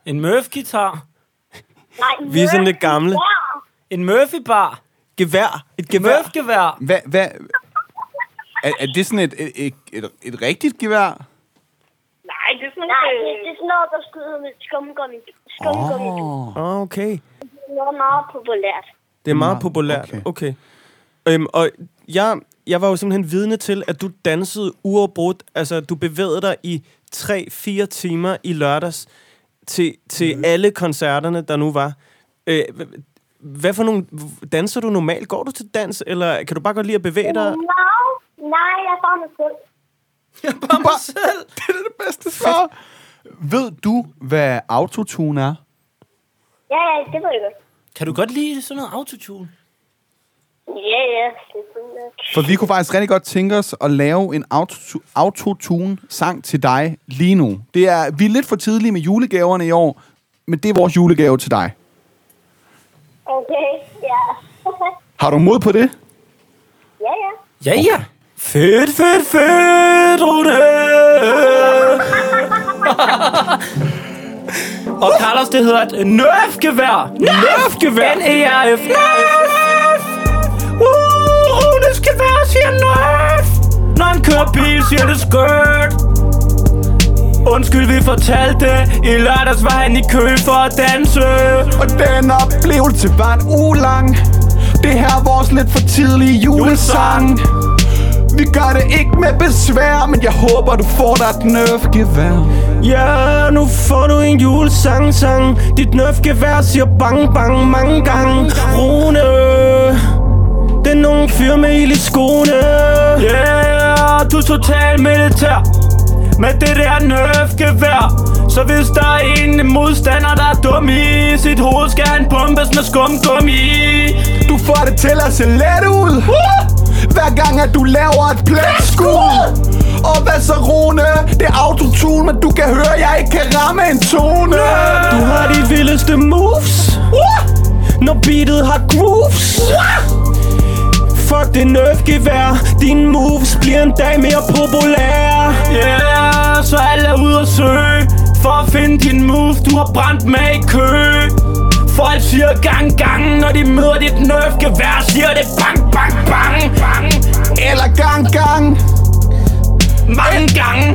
Speaker 2: En Murphy-guitar.
Speaker 12: Nej,
Speaker 4: Vi er sådan lidt gamle.
Speaker 12: nørdskivær.
Speaker 2: En Murphy-bar.
Speaker 1: Gevær? Et gevær?
Speaker 2: Murph-gevær.
Speaker 1: Hvad, hvad? Er, er det sådan et, et, et, et, et rigtigt gevær?
Speaker 12: Nej, det er sådan Nej, det, det er sådan noget, der skyder med skumgummi. Skumgummi. Oh.
Speaker 4: Ah, okay.
Speaker 12: Det er noget meget populært.
Speaker 4: Det er meget populært. Okay. okay. Øhm, og jeg, jeg var jo simpelthen vidne til, at du dansede uafbrudt. Altså, du bevægede dig i 3-4 timer i lørdags til, til mm. alle koncerterne, der nu var. Øh, hva- hvad for nogle... Danser du normalt? Går du til dans, eller kan du bare godt lide at bevæge dig?
Speaker 12: Nej, nej, jeg får mig selv.
Speaker 2: Bare mig selv.
Speaker 1: Det er det bedste svar. Ved du, hvad autotune er?
Speaker 12: Ja, ja, det ved jeg godt.
Speaker 2: Kan du godt lide sådan noget autotune?
Speaker 12: Ja, ja, det er sådan noget.
Speaker 1: For vi kunne faktisk rigtig godt tænke os at lave en autotu- autotune-sang til dig lige nu. Det er, vi er lidt for tidlige med julegaverne i år, men det er vores julegave til dig.
Speaker 12: Okay, ja.
Speaker 1: Har du mod på det?
Speaker 12: ja, ja.
Speaker 2: Ja, ja. Fedt, fedt, fedt, Rune! Og Carlos, det hedder et nerfgevær. Nerfgevær. N-E-R-F. Nerf! Uh, Runes gevær siger nerf. Når en kører bil, siger det skørt. Undskyld, vi fortalte I lørdags var han i kø for at danse
Speaker 1: Og den oplevelse var en uge lang Det her er vores lidt for tidlige julesang Vi gør det ikke med besvær Men jeg håber, du får dig et nerfgevær
Speaker 4: Ja, nu får du en julesang-sang Dit nerfgevær siger bang, bang, mange gange Rune Det er nogle fyr med ild i skoene
Speaker 2: Yeah, du er total militær Med det der nerfgevær Så hvis der er en modstander, der er dum i Sit hoved skal han pumpes med skumgummi
Speaker 1: Du får det til at se let ud Hver gang at du laver et pletskud Og hvad så Rune? Det er autotune, men du kan høre, jeg ikke kan ramme en tone
Speaker 4: Du har de vildeste moves Når beatet har grooves Fuck det nerfgevær Dine moves bliver en dag mere populære
Speaker 2: Yeah, så alle er ude og søge For at finde din move, du har brændt med i kø Folk siger gang, gang, når de møder dit nerfgevær Siger det bang, bang, bang, bang
Speaker 1: Eller gang, gang
Speaker 2: Mange gange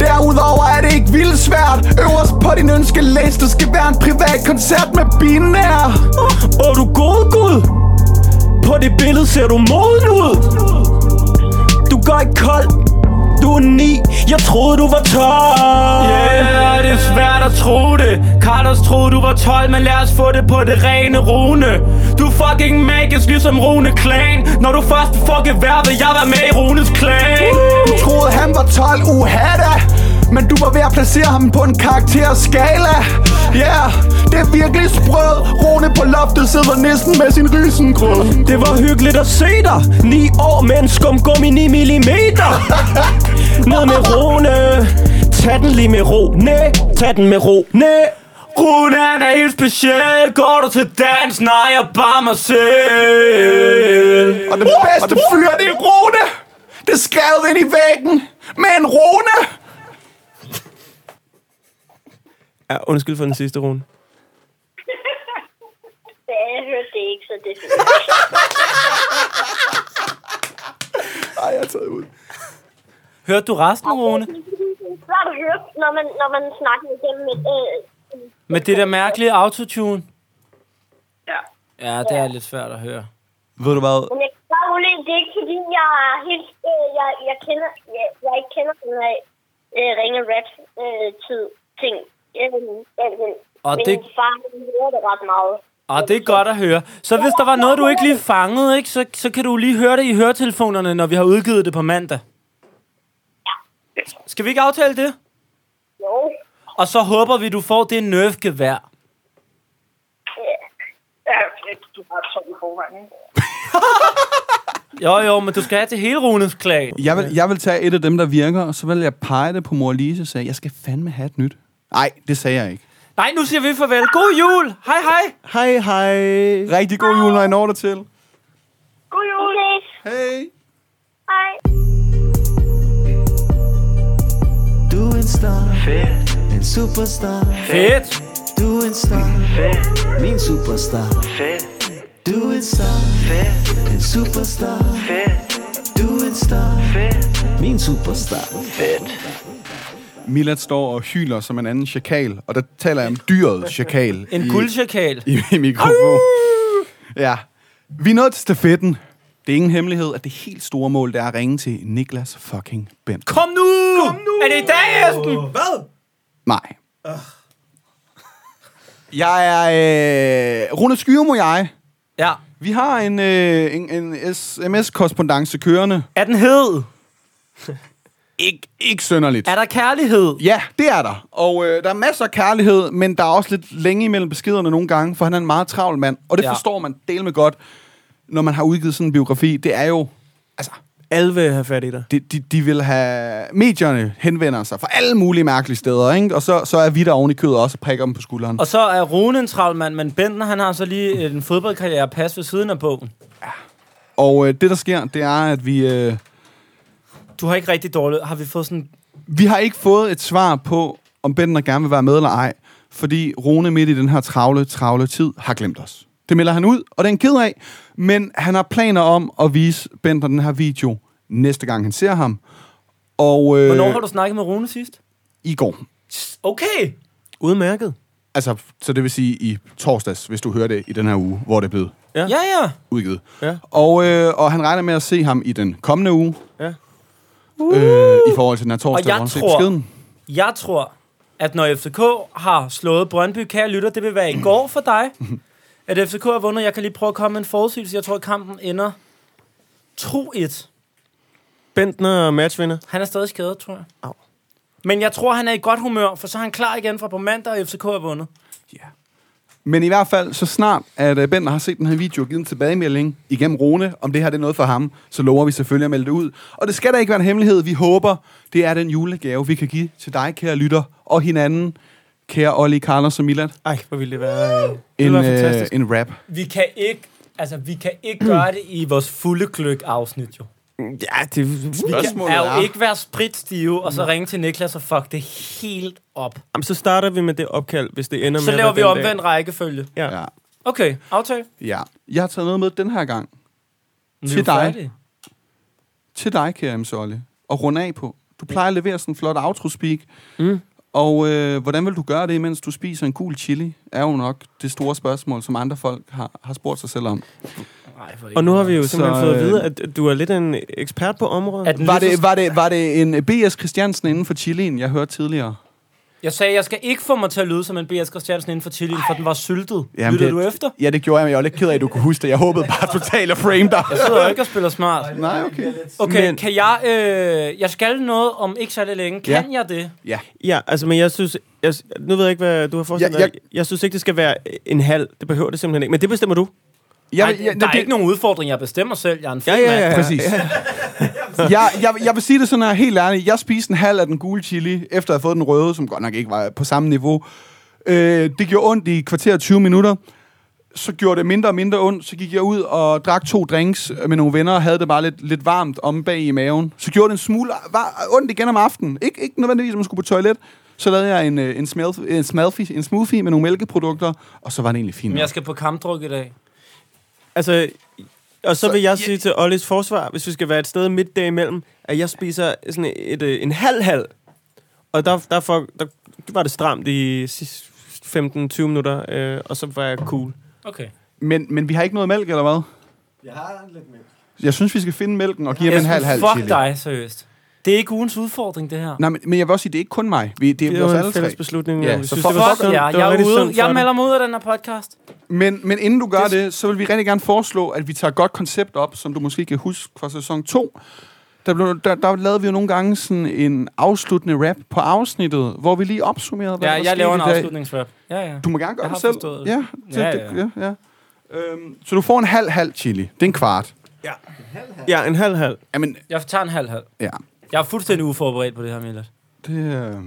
Speaker 1: Derudover er det ikke vildt svært Øverst på din ønskeliste skal være en privat koncert med binær
Speaker 4: Og du god gud På det billede ser du moden ud Du går ikke kold Du er ni Jeg troede du var 12
Speaker 2: Yeah, det er svært at tro det Carlos troede du var 12, men lad os få det på det rene Rune Du er fucking magisk ligesom Rune Klan Når du først får gevær, vil jeg være med i Runes klan
Speaker 1: Du troede han var 12 uha da Men du var ved at placere ham på en karakterskala Ja, yeah, det er virkelig sprød Rune på loftet sidder næsten med sin rysengrød
Speaker 4: Det var hyggeligt at se dig 9 år med en skumgummi 9 mm Ned med Rune Tag den lige med ro Næ, tag den med ro Næ
Speaker 2: Rune han er helt speciel Går du til dans? Nej, jeg er bare mig selv
Speaker 1: Og den bedste fyr, det er Rune Det er skrevet ind i væggen med en Rune
Speaker 4: Ja, undskyld for den sidste runde
Speaker 12: Ja, jeg hørte det ikke, så det er
Speaker 1: Ej, jeg er taget ud
Speaker 2: Hørte du resten, Rune?
Speaker 12: Det er at høre, når man, når man snakker igennem et... Øh,
Speaker 2: Med det der mærkelige autotune? Ja. Ja, det er lidt svært at høre.
Speaker 1: Ved du hvad?
Speaker 12: men jeg kan bare roligt, det er ikke fordi, jeg er helt... Øh, jeg, jeg, kender, jeg, jeg ikke kender den her øh, ringe rap øh, tid ting. Øh, øh,
Speaker 2: Og
Speaker 12: min
Speaker 2: det-
Speaker 12: far han hører det ret meget.
Speaker 2: Og det er godt at høre. Så hvis der var noget, du ikke lige fangede, ikke, så, så kan du lige høre det i høretelefonerne, når vi har udgivet det på mandag. Skal vi ikke aftale det?
Speaker 12: Jo.
Speaker 2: Og så håber vi, du får det nerfgevær.
Speaker 10: Ja, du har tolv i forvejen, ikke?
Speaker 2: Jo, jo, men du skal have til hele Runes klag.
Speaker 1: Jeg vil, jeg vil tage et af dem, der virker, og så vil jeg pege det på mor Lise og sige, jeg skal fandme have et nyt. Nej, det sagde jeg ikke.
Speaker 2: Nej, nu siger vi farvel. God jul! Hej, hej!
Speaker 1: Hej, hej. Rigtig god jul, når I når det til.
Speaker 12: God jul. Okay.
Speaker 1: Hej.
Speaker 12: Hej.
Speaker 9: Du er en star Fedt En superstar
Speaker 2: Fedt!
Speaker 9: Du er en star Fedt Min superstar Fedt Du er en star Fedt En superstar Fedt Du er en star Fedt Min superstar Fedt
Speaker 1: Milad står og hyler som en anden chakal, og der taler jeg om dyret chakal.
Speaker 2: En
Speaker 1: i-
Speaker 2: guldchakal.
Speaker 1: I, i mikrofon. Ja. Vi er nået til stafetten. Det er ingen hemmelighed, at det helt store mål, det er at ringe til Niklas fucking Bent.
Speaker 2: Kom nu! Kom nu! Er det i dag, Esben? Hvad?
Speaker 1: Nej. Jeg er... Øh, Rune Skyrum og jeg.
Speaker 2: Ja.
Speaker 1: Vi har en, øh, en, en sms-korrespondence kørende.
Speaker 2: Er den hed?
Speaker 1: Ik, ikke sønderligt. Er
Speaker 2: der kærlighed?
Speaker 1: Ja, det er der. Og øh, der er masser af kærlighed, men der er også lidt længe imellem beskederne nogle gange, for han er en meget travl mand. Og det
Speaker 2: Ja.
Speaker 1: ja. forstår man del med godt, når man har udgivet sådan en biografi. Det er jo... Altså,
Speaker 4: alle vil have fat i dig.
Speaker 1: De, de, de vil have... Medierne henvender sig fra alle mulige mærkelige steder, ikke? Og så, så er vi der oven i kødet også og prikker dem på skulderen.
Speaker 2: Og så er Rune en travl mand, men Bentner han har så lige en fodboldkarriere pas ved siden af bogen.
Speaker 1: Og øh, det, der sker, det er, at vi... Øh,
Speaker 2: Du har ikke rigtig dårligt. Har vi fået sådan...
Speaker 1: vi har ikke fået et svar på, om Bender gerne vil være med eller ej, fordi Rune midt i den her travle, travle tid har glemt os. Det melder han ud, og det er en ked af, men han har planer om at vise Bender den her video næste gang, han ser ham. Og øh,
Speaker 2: Hvornår har du snakket med Rune sidst?
Speaker 1: i går.
Speaker 2: Okay.
Speaker 4: Udmærket.
Speaker 1: Altså, så det vil sige i torsdags, hvis du hører det i den her uge, hvor det er blevet
Speaker 2: Ja, ja. ja.
Speaker 1: udgivet.
Speaker 4: Ja.
Speaker 1: Og, øh, og han regner med at se ham i den kommende uge,
Speaker 4: Ja.
Speaker 1: øh, i forhold til den her
Speaker 2: Og
Speaker 1: torsdag, hvor
Speaker 2: jeg
Speaker 1: han ser
Speaker 2: tror,
Speaker 1: beskeden.
Speaker 2: jeg tror, at når FCK har slået Brøndby, kære lytter, det vil være i går for dig, at FCK har vundet. Jeg kan lige prøve at komme med en forudsigelse. Jeg tror, at kampen ender 2-1.
Speaker 4: Bentner er matchvinder.
Speaker 2: Han er stadig skadet, tror jeg. Au. Men jeg tror, han er i godt humør, for så er han klar igen fra på mandag, og FCK har vundet.
Speaker 1: Men i hvert fald, så snart at øh, Bender har set den her video og givet en tilbagemelding igennem Rune, om det her det er noget for ham, så lover vi selvfølgelig at melde det ud. Og det skal da ikke være en hemmelighed. Vi håber, det er den julegave, vi kan give til dig, kære lytter, og hinanden, kære Olli, Carlos og Milad.
Speaker 4: Ej, hvor ville det være... Øh,
Speaker 1: En,
Speaker 2: være
Speaker 1: øh,
Speaker 2: fantastisk.
Speaker 1: en rap.
Speaker 2: Vi kan ikke, altså, vi kan ikke gøre det i vores fulde gløk afsnit, jo.
Speaker 4: Ja, det
Speaker 2: Vi kan er jo ikke være spritstive, og
Speaker 4: Mm.
Speaker 2: så ringe til Niklas og fuck det helt op.
Speaker 4: Jamen, så starter vi med det opkald, hvis det ender med...
Speaker 2: Så
Speaker 4: at
Speaker 2: laver
Speaker 4: være
Speaker 2: vi
Speaker 4: den
Speaker 2: omvendt
Speaker 4: dag.
Speaker 2: rækkefølge.
Speaker 4: Ja. ja.
Speaker 2: Okay, aftale.
Speaker 1: Ja. Jeg har taget noget med den her gang.
Speaker 2: Vi er jo
Speaker 1: til dig.
Speaker 2: færdige.
Speaker 1: Til dig, kære MC Olli. Og runde af på. Du plejer at levere sådan en flot outro-speak. Mm. Og øh, hvordan vil du gøre det, mens du spiser en gul chili? Er jo nok det store spørgsmål, som andre folk har, har spurgt sig selv om.
Speaker 4: Og nu har vi jo
Speaker 1: Så,
Speaker 4: simpelthen fået at
Speaker 1: øh,
Speaker 4: vide, at du er lidt en ekspert på området.
Speaker 1: Var det, var, det, var det en B.S. Christiansen inden for chilien, jeg hørte tidligere?
Speaker 2: Jeg sagde, jeg skal ikke få mig til at lyde som en B.S. Christiansen inden for Chilien, for den var syltet. Jamen, Lyttede det... du efter?
Speaker 1: Ja, det gjorde jeg, men jeg var lidt ked af, at du kunne huske det. Jeg håbede bare totalt at frame dig.
Speaker 2: Jeg sidder jo ikke og spiller smart.
Speaker 1: Nej, okay.
Speaker 2: Okay,
Speaker 4: Men-
Speaker 2: men... kan jeg... Øh, jeg skal noget om ikke særlig længe. Kan jeg det?
Speaker 1: Ja.
Speaker 4: Ja, altså, men jeg synes... Jeg, nu ved jeg ikke, hvad du har forestillet
Speaker 2: Ja, jeg-
Speaker 4: dig. Jeg synes ikke, det skal være en halv. Det behøver det simpelthen ikke. Men det bestemmer du.
Speaker 2: Jeg, Ej, der er ikke nogen udfordring. Jeg bestemmer selv. Jeg er en fed
Speaker 4: Ja, ja, ja,
Speaker 2: mand.
Speaker 4: ja. Præcis.
Speaker 1: jeg, jeg, jeg vil sige det sådan her, helt ærligt. Jeg spiste en halv af den gule chili, efter at have fået den røde, som godt nok ikke var på samme niveau. Øh, det gjorde ondt i et kvarter og 20 minutter. Så gjorde det mindre og mindre ondt. Så gik jeg ud og drak to drinks med nogle venner, og havde det bare lidt, lidt varmt om bag i maven. Så gjorde det en smule var ondt igen om aftenen. Ikke, ikke nødvendigvis, at man skulle på toilet. Så lavede jeg en, øh, en, smel, en, smalfi, en smoothie med nogle mælkeprodukter, og så var det egentlig fint.
Speaker 2: Men jeg skal på kampdruk i dag.
Speaker 4: Altså, og så vil jeg sige til Ollis forsvar, hvis vi skal være et sted midt derimellem, at jeg spiser sådan et, øh, en halv-halv. Og der, der, for, der var det stramt i sidst 15-20 minutter, øh, og så var jeg cool.
Speaker 2: Okay.
Speaker 1: Men, men vi har ikke noget mælk, eller hvad?
Speaker 9: Jeg har lidt mere
Speaker 1: Jeg synes, vi skal finde mælken og give ham en
Speaker 2: Esben,
Speaker 1: halv halv
Speaker 2: fuck
Speaker 1: chili.
Speaker 2: dig, seriøst. Det er ikke ugens udfordring, det her.
Speaker 1: Nej, men, men jeg vil også sige, det er ikke kun mig. Vi, det,
Speaker 2: Det
Speaker 1: er
Speaker 2: er jo
Speaker 1: vores
Speaker 2: en
Speaker 1: alle tre.
Speaker 2: fælles beslutning,
Speaker 1: Ja,
Speaker 2: og vi
Speaker 1: så
Speaker 2: synes,
Speaker 1: fuck
Speaker 2: det var sundt.
Speaker 1: jer.
Speaker 2: Jeg, jeg, er ude. jeg melder mig ud af den her podcast.
Speaker 1: Men, men inden du gør det, så vil vi rigtig gerne foreslå, at vi tager et godt koncept op, som du måske kan huske fra sæson 2. Der, blev, der, der lavede vi jo nogle gange sådan en afsluttende rap på afsnittet, hvor vi lige opsummerede, hvad
Speaker 2: Ja,
Speaker 1: der
Speaker 2: jeg
Speaker 1: skete
Speaker 2: laver en
Speaker 1: i dag.
Speaker 2: afslutningsrap. Ja, ja.
Speaker 1: Du må gerne gøre
Speaker 2: Jeg
Speaker 1: det
Speaker 2: har
Speaker 1: selv.
Speaker 2: forstået det.
Speaker 1: Ja, det,
Speaker 2: Ja,
Speaker 1: ja, ja. ja, ja. Øhm, så du får en halv-halv chili. Det er en kvart.
Speaker 4: Ja, en halv-halv.
Speaker 1: Jamen,
Speaker 2: Jeg tager en halv-halv.
Speaker 1: Ja.
Speaker 2: Jeg er fuldstændig uforberedt på det her, Milad.
Speaker 1: Det,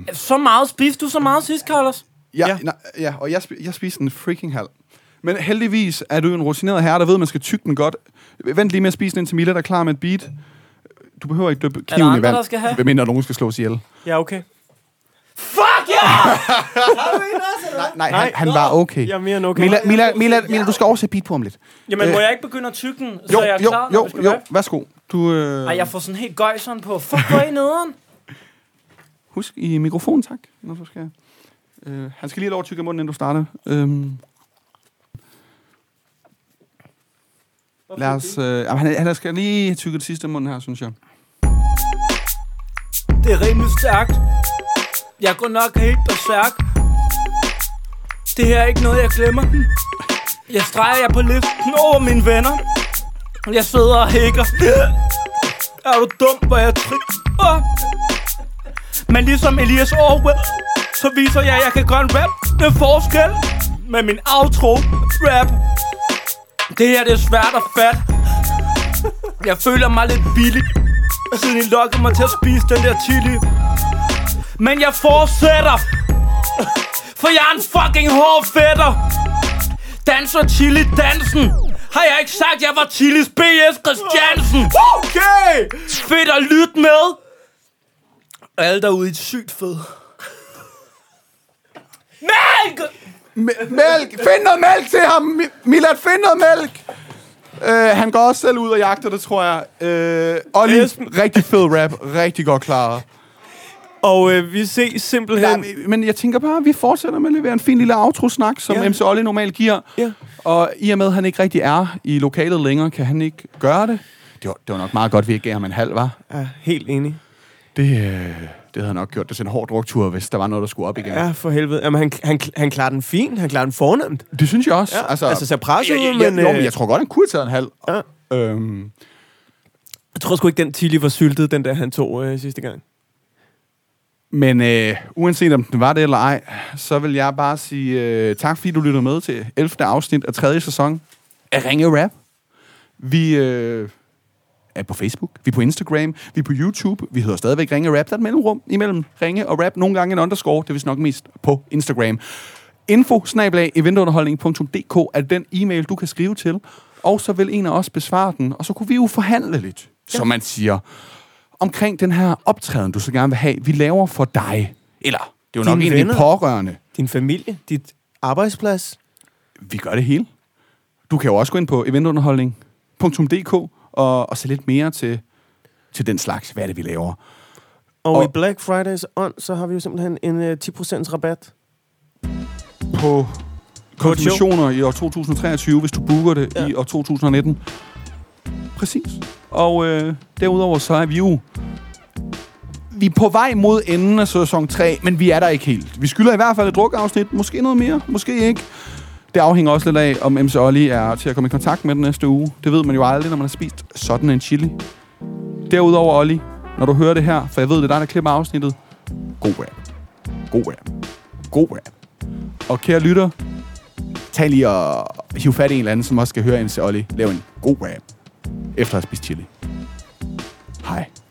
Speaker 1: øh...
Speaker 2: Så meget spiste du så meget sidst, Carlos?
Speaker 1: Ja, ja. Nej, ja og jeg, sp- jeg spiste en freaking halv. Men heldigvis er du jo en rutineret herre, der ved, at man skal tygge den godt. Vent lige med at spise den, indtil Mila der er klar med et beat. Du behøver ikke døbe
Speaker 4: der
Speaker 1: kniven i
Speaker 4: andre,
Speaker 1: vand,
Speaker 4: der skal have?
Speaker 1: medmindre nogen skal slås ihjel.
Speaker 4: Ja, okay.
Speaker 2: Fuck yeah!
Speaker 1: Nej, nej, han, han var okay.
Speaker 4: Jeg er mere end okay.
Speaker 1: Mila, Mila, Mila, Mila, du skal oversætte beat på om lidt.
Speaker 2: Jamen,
Speaker 1: Øh,
Speaker 2: må jeg ikke begynde at tykke den, så
Speaker 1: jo,
Speaker 2: jeg er
Speaker 1: jo,
Speaker 2: klar, når
Speaker 1: jo,
Speaker 2: vi skal
Speaker 1: jo,
Speaker 2: rappe?
Speaker 1: værsgo. Du, øh,
Speaker 2: Ej, jeg får sådan helt gøjseren på. Fuck, hvor er I nederen?
Speaker 1: Husk i mikrofonen, tak, når du skal. Øh, han skal lige have lov at tykke i munden, inden du starter. Øhm, lad os, øh, jamen, han, han skal lige tykke det sidste i munden her, synes jeg.
Speaker 2: Det er rimelig stærkt. Jeg går nok helt berserk. Det her er ikke noget, jeg glemmer. Jeg streger jer på listen over mine venner. Jeg sidder og hækker. Er du dum, hvor jeg trykker? Men ligesom Elias Orwell, så viser jeg, at jeg kan gøre en rap med forskel. Med min outro-rap. Det her, det er svært at fatte. Jeg føler mig lidt billig Siden I lokkede mig til at spise den der chili Men jeg fortsætter For jeg er en fucking hård fætter Danser chili dansen Har jeg ikke sagt, jeg var Chilis B.S. Christiansen Okay Fedt at lytte med Alle derude i et sygt fed Mælk!
Speaker 1: mælk! Find noget mælk til ham! Mi- Milad, find noget mælk! Øh, han går også selv ud og jagter det, tror jeg. Øh, Olli, rigtig fed rap. Rigtig godt klaret.
Speaker 4: Og øh, vi ses simpelthen...
Speaker 1: Ja, men jeg tænker bare, at vi fortsætter med at levere en fin lille outro-snak, som ja. MC Olli normalt giver. Ja. Og i og med, at han ikke rigtig er i lokalet længere, kan han ikke gøre det. Det var, det var nok meget godt, vi ikke gav ham en halv, var.
Speaker 4: Ja, helt enig.
Speaker 1: Det, øh, det havde han nok gjort. Det til en hård druktur, hvis der var noget, der skulle op igen.
Speaker 4: Ja, for helvede. Jamen, han, han, han klarer den fint. Han klarer den fornemt.
Speaker 1: Det synes jeg også.
Speaker 4: Ja, altså, altså ser presset ud,
Speaker 1: jeg, jeg,
Speaker 4: men...
Speaker 1: Jeg, jo,
Speaker 4: øh,
Speaker 1: men jeg tror godt, han kunne have taget en halv. Ja. Øhm,
Speaker 4: Jeg tror sgu ikke, den Tilly var syltet, den der, han tog øh, sidste gang.
Speaker 1: Men øh, uanset om den var det eller ej, så vil jeg bare sige øh, tak, fordi du lytter med til 11. afsnit af 3. sæson af Ringe Rap. Vi øh, er på Facebook, vi er på Instagram, vi er på YouTube, vi hedder stadigvæk Ringe Rap. Der er et mellemrum imellem Ringe og Rap, nogle gange en underscore, det er vist nok mest på Instagram. Info eventunderholdning.dk er den e-mail, du kan skrive til, og så vil en af os besvare den, og så kunne vi jo forhandle lidt, ja. som man siger omkring den her optræden, du så gerne vil have, vi laver for dig. Eller, det er jo nok en af dine pårørende.
Speaker 4: Din familie, dit arbejdsplads.
Speaker 1: Vi gør det hele. Du kan jo også gå ind på eventunderholdning.dk og, og se lidt mere til, til den slags, hvad er det, vi laver.
Speaker 4: Og,
Speaker 1: Og-
Speaker 4: og i Black Fridays ånd, så har vi jo simpelthen en øh, 10% rabat.
Speaker 1: På konfirmationer i år 2023, hvis du booker det ja. i år 2019. Præcis. Og øh, derudover så er vi jo... Vi er på vej mod enden af sæson 3, men vi er der ikke helt. Vi skylder i hvert fald et drukafsnit. Måske noget mere, måske ikke. Det afhænger også lidt af, om MC Olli er til at komme i kontakt med den næste uge. Det ved man jo aldrig, når man har spist sådan en chili. Derudover, Olli, når du hører det her, for jeg ved, det er dig, der klipper afsnittet. God rap. God rap. God rap. Og kære lytter, tag lige og hiv fat i en eller anden, som også skal høre MC Olli lave en god rap, efter at have spist chili. Hej.